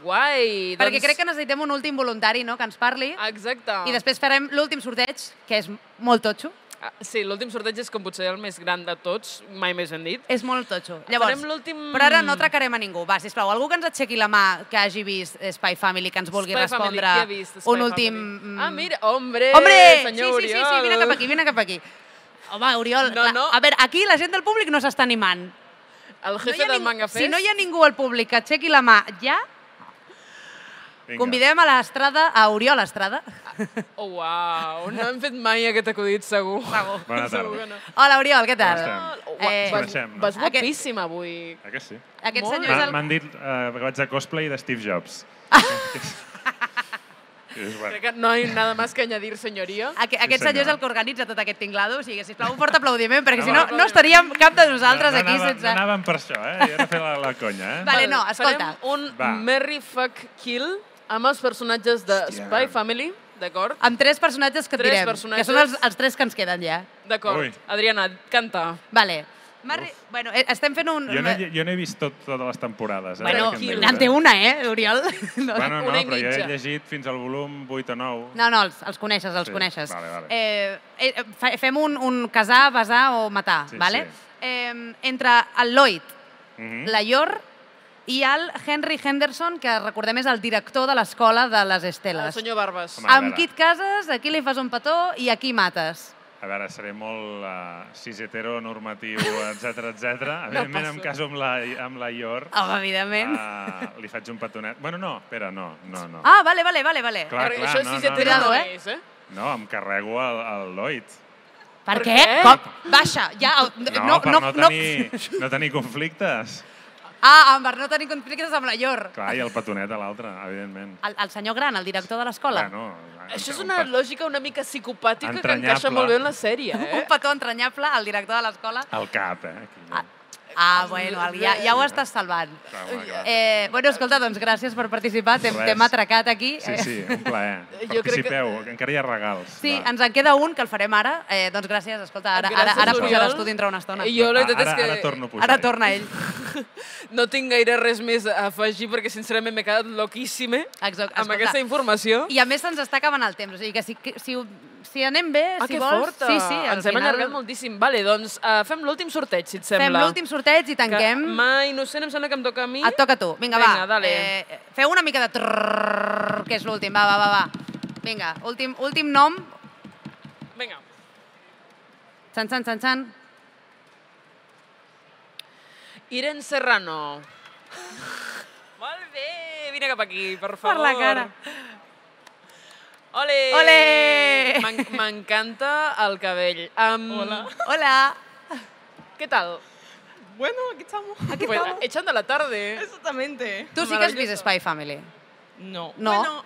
Speaker 1: Guai.
Speaker 2: perquè
Speaker 1: doncs, Ah,
Speaker 2: crec que necessitem un últim voluntari no, que ens parli
Speaker 1: Exacte.
Speaker 2: i després farem l'últim sorteig, que és molt totxo.
Speaker 1: Ah, Sí, l'últim sorteig és com potser el més gran de tots, mai més ben dit.
Speaker 2: És molt totxo. Llavors,
Speaker 1: Farem l'últim-
Speaker 2: però ara no atracarem a ningú. Va, sisplau, algú que ens aixequi la mà que hagi vist Spy Family, que ens vulgui
Speaker 1: Spy
Speaker 2: respondre
Speaker 1: Family, qui ha vist Spy
Speaker 2: un últim...
Speaker 1: Family?
Speaker 2: mm,
Speaker 1: Ah, mira, hombre,
Speaker 2: Hombre,
Speaker 1: senyor
Speaker 2: sí, sí, sí, sí,
Speaker 1: Oriol.
Speaker 2: vine cap aquí, vine cap aquí. Home, Oriol,
Speaker 1: No,
Speaker 2: no, no.
Speaker 1: no.
Speaker 2: a veure, aquí la gent del públic no s'està animant.
Speaker 1: El
Speaker 2: No hi
Speaker 1: jefe
Speaker 2: ha
Speaker 1: no del
Speaker 2: ning-
Speaker 1: Manga Fest.
Speaker 2: Si no hi ha ningú al públic que aixequi la mà ja,
Speaker 10: Vinga.
Speaker 2: convidem a l'Estrada, a Oriol Estrada.
Speaker 1: Oh, uau, no hem fet mai aquest acudit, segur. Segur.
Speaker 10: Bona tarda.
Speaker 1: que no.
Speaker 2: Hola, Oriol, què tal?
Speaker 10: Com
Speaker 1: Oh, ua-
Speaker 2: Eh,
Speaker 1: vas,
Speaker 10: Coneixem, no?
Speaker 1: vas
Speaker 2: Aquest-
Speaker 1: guapíssima avui.
Speaker 10: Eh que sí?
Speaker 2: Aquest
Speaker 1: Molt
Speaker 2: senyor
Speaker 1: bé.
Speaker 2: és
Speaker 10: M'ha-
Speaker 2: el...
Speaker 10: M'han dit eh, que vaig a cosplay de Steve Jobs. és,
Speaker 1: Creo
Speaker 10: bueno,
Speaker 1: que no hay nada más que añadir, señoría.
Speaker 2: Aqu aquest
Speaker 10: Sí,
Speaker 2: senyor és
Speaker 10: senyor.
Speaker 2: el que organitza tot aquest tinglado, o sigui, sisplau, un fort aplaudiment, perquè si no,
Speaker 10: Home.
Speaker 2: no estaríem cap de nosaltres
Speaker 10: no, no
Speaker 2: aquí
Speaker 10: anava-
Speaker 2: sense...
Speaker 10: No anàvem per això, eh? Jo era fer la, la conya, eh?
Speaker 2: Vale, no, escolta.
Speaker 1: Farem un
Speaker 10: Va.
Speaker 1: Merry Fuck Kill amb els personatges de
Speaker 10: Hòstia.
Speaker 1: Spy Family, d'acord?
Speaker 2: Amb tres personatges que et
Speaker 1: Tres
Speaker 2: direm,
Speaker 1: personatges.
Speaker 2: que són els, els tres que ens queden ja.
Speaker 1: D'acord.
Speaker 10: Ui.
Speaker 1: Adriana, canta.
Speaker 2: Vale. Marri... Bueno, eh, estem fent un...
Speaker 10: Jo no, he- jo no he vist tot, totes les temporades. Eh?
Speaker 1: Bueno,
Speaker 10: que em
Speaker 1: Kill.
Speaker 10: diuen.
Speaker 2: En té una, eh, Oriol? No,
Speaker 10: Bueno, no,
Speaker 1: Una i
Speaker 10: però jo he
Speaker 1: mitja.
Speaker 10: llegit fins al volum 8 o 9.
Speaker 2: no, no els, els coneixes, els
Speaker 10: Sí,
Speaker 2: coneixes.
Speaker 10: vale, vale.
Speaker 2: Eh, eh, eh, fa- fem un, un casar, besar o matar,
Speaker 10: Sí,
Speaker 2: vale?
Speaker 10: sí.
Speaker 2: Eh, entre el Lloyd,
Speaker 10: Mhm.
Speaker 2: la Yor i el Henry Henderson, que recordem és el director de l'escola de les
Speaker 1: El
Speaker 2: Esteles.
Speaker 1: senyor Barbas.
Speaker 10: Home.
Speaker 2: Amb
Speaker 10: Mare.
Speaker 2: qui et cases, aquí li fas un petó i aquí mates.
Speaker 10: A veure, seré molt uh, cis heteronormatiu, etc etc. Evidentment,
Speaker 1: passa.
Speaker 10: em caso amb la, amb la Ior.
Speaker 2: Home, evidentment. Ah,
Speaker 10: Uh, li faig un petonet. Bueno, no, espera, no, no, no.
Speaker 2: ah vale, vale, vale. vale.
Speaker 10: Clar,
Speaker 1: Perquè
Speaker 10: clar,
Speaker 1: això
Speaker 10: no,
Speaker 1: sí
Speaker 10: no,
Speaker 1: se
Speaker 10: no.
Speaker 1: te da
Speaker 2: Cuidado,
Speaker 1: no
Speaker 2: eh?
Speaker 1: és, eh?
Speaker 10: No, em carrego el, el Lloyd.
Speaker 2: Per,
Speaker 1: Per
Speaker 2: què?
Speaker 1: què?
Speaker 2: Com? Baixa, ja...
Speaker 10: No,
Speaker 2: No,
Speaker 10: per no, tenir, no. tenir conflictes.
Speaker 2: Ah, amb- per no tenir conflictes amb la Yor.
Speaker 10: Clar, i el petonet a l'altre, evidentment.
Speaker 2: El, el senyor gran, el director de l'escola.
Speaker 10: Bueno,
Speaker 1: Això és una lògica una mica psicopàtica que
Speaker 10: Entranyable.
Speaker 1: encaixa molt bé en la sèrie, eh?
Speaker 2: Un petó entranyable al director de l'escola.
Speaker 10: El cap, eh? Aquí.
Speaker 2: Ah, bueno, el- ja, ja ho estàs salvant.
Speaker 10: Clar, home, clar.
Speaker 2: Eh, bueno, escolta, doncs gràcies per participar. T'hem
Speaker 10: Res.
Speaker 2: t'hem atracat aquí.
Speaker 10: Sí, sí, un plaer.
Speaker 2: Jo crec que-
Speaker 10: Participeu, que... encara hi ha regals.
Speaker 2: Sí,
Speaker 10: Va.
Speaker 2: ens en queda un, que el farem ara. Eh, doncs gràcies, escolta, ara, ara,
Speaker 1: Gràcies,
Speaker 2: ara puja a
Speaker 1: Oriol.
Speaker 2: l'estudi entre una estona.
Speaker 1: Jo la veritat
Speaker 10: Ara-
Speaker 1: és que...
Speaker 10: ara torno a pujar.
Speaker 2: Ara torna ell.
Speaker 1: No tinc gaire res més a afegir perquè sincerament m'he quedat loquíssima
Speaker 2: Exacte,
Speaker 1: amb
Speaker 2: escolta.
Speaker 1: aquesta informació.
Speaker 2: I a més se'ns està acabant el temps, o sigui que si, que- si, ho- si anem bé,
Speaker 1: Ah,
Speaker 2: si
Speaker 1: que
Speaker 2: vols...
Speaker 1: forta!
Speaker 2: Sí, sí, al
Speaker 1: Ens hem
Speaker 2: final
Speaker 1: allargat moltíssim. Vale, doncs uh, fem l'últim sorteig, si et sembla.
Speaker 2: fem l'últim sorteig i tanquem.
Speaker 1: Que mà innocent em sembla que em toca a mi.
Speaker 2: Et toca a tu. Vinga,
Speaker 1: Vinga,
Speaker 2: va.
Speaker 1: dale.
Speaker 2: Eh, feu una mica de trrrr, que és l'últim. Va, va, va, va. Vinga, últim, últim nom.
Speaker 1: Vinga.
Speaker 2: San, san, san, san.
Speaker 1: Irene Serrano. Molt bé, vine cap aquí, per favor.
Speaker 2: la cara.
Speaker 1: Ole!
Speaker 2: Ole!
Speaker 1: M'en- M'encanta el cabell. Um, Hola.
Speaker 2: Hola.
Speaker 1: Què tal?
Speaker 8: Bueno, aquí estamos.
Speaker 1: Pues, echando la tarde.
Speaker 8: Exactamente.
Speaker 2: Tu sí que has vist Spy Family.
Speaker 8: No.
Speaker 2: No.
Speaker 8: Bueno,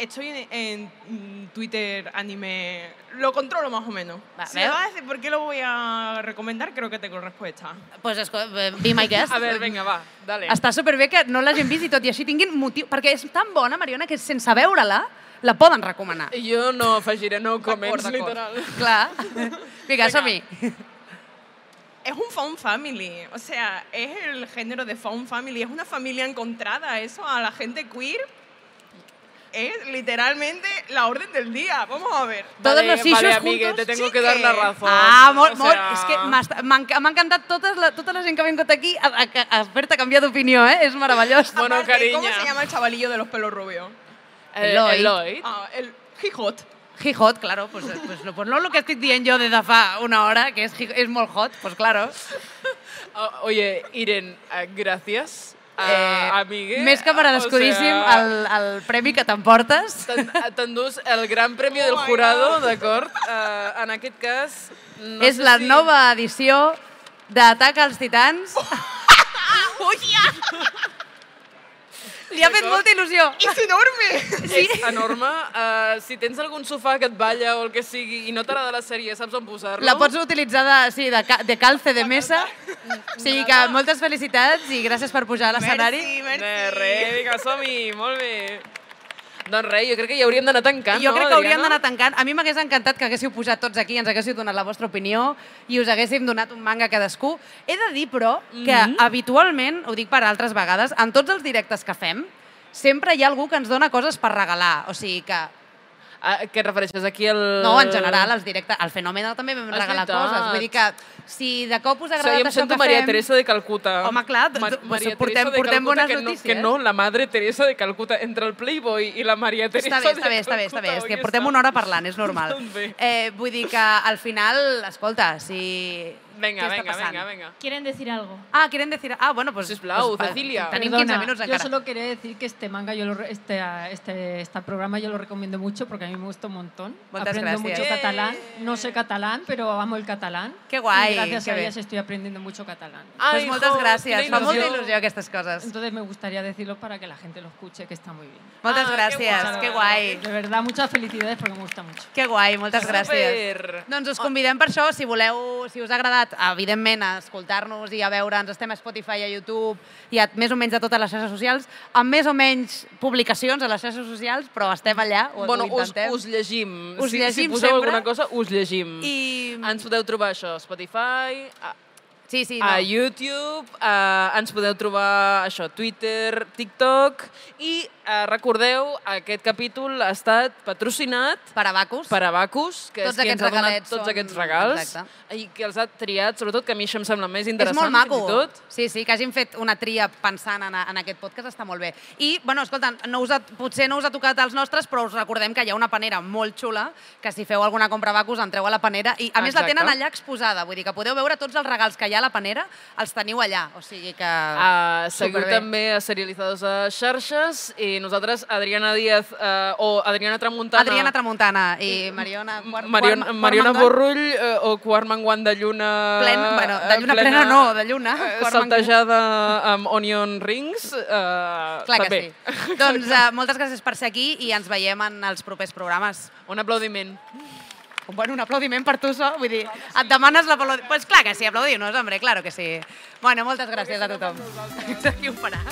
Speaker 8: estoy en, en, mm, Twitter anime. Lo controlo más o menos.
Speaker 2: Va,
Speaker 8: si
Speaker 2: veo.
Speaker 8: me vas a decir por qué lo voy a recomendar, creo que tengo respuesta.
Speaker 2: Pues esco- eh, be my guest.
Speaker 1: A ver, vinga, va, dale.
Speaker 2: Està superbé que no l'hagin vist i tot i així tinguin motiu, perquè és tan bona, Mariona, que sense veure-la la poden recomanar.
Speaker 1: Jo no afegiré no comments,
Speaker 8: d'acord.
Speaker 1: literal.
Speaker 2: Clar. Vinga, som-hi.
Speaker 8: Es un found family, o sea, es el género de found family, es una familia encontrada, eso a la gente queer es literalmente la orden del día, vamos a ver.
Speaker 2: Todos los issues
Speaker 1: vale, amigue,
Speaker 2: juntos,
Speaker 1: te tengo
Speaker 8: sí
Speaker 1: que dar la
Speaker 8: que-
Speaker 1: razón.
Speaker 2: Ah, molt,
Speaker 1: O
Speaker 2: molt.
Speaker 1: sea,
Speaker 2: És que m'has- m'enca- m'ha encantat tota la, tota la gent que ha vingut aquí a, a, a fer-te canviar d'opinió, eh? És meravellós.
Speaker 1: Bueno,
Speaker 8: Aparte, ¿Cómo
Speaker 1: cariño.
Speaker 8: se llama el chavalillo de los pelos rubios?
Speaker 1: Eh,
Speaker 2: Eloy.
Speaker 1: Eloy.
Speaker 8: Ah, el Hijot.
Speaker 2: He hot, claro, pues, pues, no, pues no lo que estic dient jo des de fa una hora, que és, hi- és molt hot, pues claro.
Speaker 1: O- Oye, Irene, eh, gracias.
Speaker 2: Eh,
Speaker 1: Eh, amigue.
Speaker 2: Més que merescudíssim
Speaker 1: O sea,
Speaker 2: el, el premi que t'emportes.
Speaker 1: T'en- T'endús el Gran Premi del Jurado, d'acord? Uh, en aquest cas... No
Speaker 2: és
Speaker 1: sé
Speaker 2: la
Speaker 1: si...
Speaker 2: nova edició d'Atac als Titans.
Speaker 1: Oh!
Speaker 2: Li ha fet
Speaker 1: D'acord.
Speaker 2: molta il·lusió.
Speaker 8: ¡Es enorme!
Speaker 1: Sí. És enorme. Uh, si tens algun sofà que et balla o el que sigui i no t'agrada la sèrie, saps on posar-lo?
Speaker 2: La pots utilitzar de, sí, de, ca- de calce de mesa. O sigui que moltes felicitats i gràcies per pujar a l'escenari.
Speaker 8: Merci,
Speaker 1: De
Speaker 8: merci.
Speaker 1: res, vinga, som-hi, molt bé. Doncs res, jo crec que ja hauríem d'anar tancant,
Speaker 2: Jo
Speaker 1: no,
Speaker 2: crec que hauríem d'anar
Speaker 1: Adriana?
Speaker 2: tancant. A mi m'hagués encantat que haguéssiu posat tots aquí, ens haguéssiu donat la vostra opinió i us haguéssim donat un manga a cadascú. He de dir, però, que
Speaker 1: Mhm.
Speaker 2: habitualment, ho dic per altres vegades, en tots els directes que fem, sempre hi ha algú que ens dona coses per regalar. O sigui que,
Speaker 1: Ah, què et refereixes aquí al...
Speaker 2: no, en general, els directes, al fenomen també vam
Speaker 1: Eh. És
Speaker 2: regalar
Speaker 1: veritat.
Speaker 2: coses. Vull dir que, si de cop us ha
Speaker 1: O sigui,
Speaker 2: agradat
Speaker 1: jo em
Speaker 2: això
Speaker 1: sento
Speaker 2: que
Speaker 1: Maria
Speaker 2: fem...
Speaker 1: Teresa de Calcuta.
Speaker 2: Home, clar,
Speaker 1: Ma-
Speaker 2: doncs,
Speaker 1: Maria
Speaker 2: portem-
Speaker 1: Teresa de
Speaker 2: portem
Speaker 1: Calcuta,
Speaker 2: bones
Speaker 1: que no,
Speaker 2: notícies.
Speaker 1: Que no, la madre Teresa de Calcuta, entre el Playboy i la Maria Teresa
Speaker 2: Està bé,
Speaker 1: de
Speaker 2: està bé, està bé, està bé. És
Speaker 1: Calcuta,
Speaker 2: que
Speaker 1: oi,
Speaker 2: portem
Speaker 1: està?
Speaker 2: una hora parlant, és normal.
Speaker 1: Doncs bé.
Speaker 2: Eh, vull dir que al final, escolta, si...
Speaker 1: Vinga,
Speaker 2: què està
Speaker 1: vinga,
Speaker 2: passant?
Speaker 1: vinga, vinga.
Speaker 4: Quieren decir algo.
Speaker 2: Ah, quieren decir... Ah, bueno, pues...
Speaker 1: Sisplau,
Speaker 2: pues,
Speaker 1: Cecilia.
Speaker 2: Tenim 15
Speaker 7: Perdona,
Speaker 2: minuts
Speaker 7: Yo
Speaker 2: encara.
Speaker 7: solo quería decir que este manga, yo lo re- este, este, este programa yo lo recomiendo mucho porque a mí me gusta un montón.
Speaker 2: Moltes
Speaker 7: aprendo
Speaker 2: gràcies.
Speaker 7: mucho
Speaker 2: Yay.
Speaker 7: catalán. No sé catalán, pero amo el catalán.
Speaker 2: Qué guay,
Speaker 7: Y gracias
Speaker 2: qué
Speaker 7: a
Speaker 2: bien.
Speaker 7: ellas estoy aprendiendo mucho catalán.
Speaker 2: Pues
Speaker 1: Ai,
Speaker 2: moltes
Speaker 1: jo,
Speaker 2: gràcies.
Speaker 1: quina
Speaker 2: Fa molta
Speaker 1: il·lusió.
Speaker 2: il·lusió aquestes coses.
Speaker 7: Entonces me gustaría decirlo para que la gente lo escuche, que está muy bien.
Speaker 2: Moltes
Speaker 1: Ah,
Speaker 2: gràcies,
Speaker 1: que
Speaker 2: que guai.
Speaker 7: De verdad, muchas felicidades porque me gusta mucho.
Speaker 2: Que guai, moltes gràcies.
Speaker 1: Super.
Speaker 2: Doncs us convidem per això, si voleu, si us ha agradat, evidentment, a escoltar-nos i a veure'ns, estem a Spotify, a YouTube i a més o menys a totes les xarxes socials, amb més o menys publicacions a les xarxes socials, però estem allà, ho,
Speaker 1: Bueno,
Speaker 2: ho
Speaker 1: us,
Speaker 2: intentem.
Speaker 1: us llegim.
Speaker 2: Us
Speaker 1: si, si
Speaker 2: llegim
Speaker 1: poseu
Speaker 2: sempre.
Speaker 1: alguna cosa, us llegim.
Speaker 2: I...
Speaker 1: Ens podeu trobar això, a Spotify, a,
Speaker 2: Sí, sí, no.
Speaker 1: a YouTube, a, ens podeu trobar això, Twitter, TikTok, i eh, recordeu, aquest capítol ha estat patrocinat
Speaker 2: Per abacus.
Speaker 1: per Abacus, que
Speaker 2: Tots
Speaker 1: és qui ens
Speaker 2: aquests
Speaker 1: ha donat
Speaker 2: regalets
Speaker 1: tots
Speaker 2: són-
Speaker 1: aquests regals
Speaker 2: Exacte.
Speaker 1: i que els ha triat, sobretot, que a mi això em sembla més
Speaker 2: És
Speaker 1: interessant.
Speaker 2: molt maco.
Speaker 1: fins i tot.
Speaker 2: Sí, sí, que hagin fet una tria pensant en, en aquest podcast està molt bé. I, bueno, escolta, no us ha, potser no us ha tocat els nostres, però us recordem que hi ha una panera molt xula, que si feu alguna compra a Bacus, entreu a la panera i, a més, la
Speaker 1: Exacte.
Speaker 2: tenen allà exposada, vull dir que podeu veure tots els regals que hi ha a la panera, els teniu allà. O sigui que...
Speaker 1: Uh, seguiu
Speaker 2: superbé.
Speaker 1: també a Serializados a xarxes i nosaltres, Adriana Díaz eh, o Adriana Tramuntana...
Speaker 2: Adriana Tramuntana i Mariona... Quart,
Speaker 1: Marion,
Speaker 2: Quart-
Speaker 1: tota- Mariona
Speaker 2: Quart-
Speaker 1: Borrull eh, o Quart Menguant de Lluna...
Speaker 2: Plena, bueno, de
Speaker 1: eh,
Speaker 2: lluna plena no, de lluna,
Speaker 1: eh,
Speaker 2: Quart Menguant.
Speaker 1: Saltejada amb onion rings. Uh,
Speaker 2: Clar que
Speaker 1: també.
Speaker 2: sí. doncs uh, moltes gràcies per ser aquí i ens veiem en els propers programes.
Speaker 1: Un aplaudiment.
Speaker 2: Doncs, Bueno, un aplaudiment per tu, so. Vull dir, et demanes l'aplaudiment. Doncs pues clar que sí, aplaudiu-nos, hombre, claro que sí. Bueno, moltes gràcies a tothom. Aquí ho farà.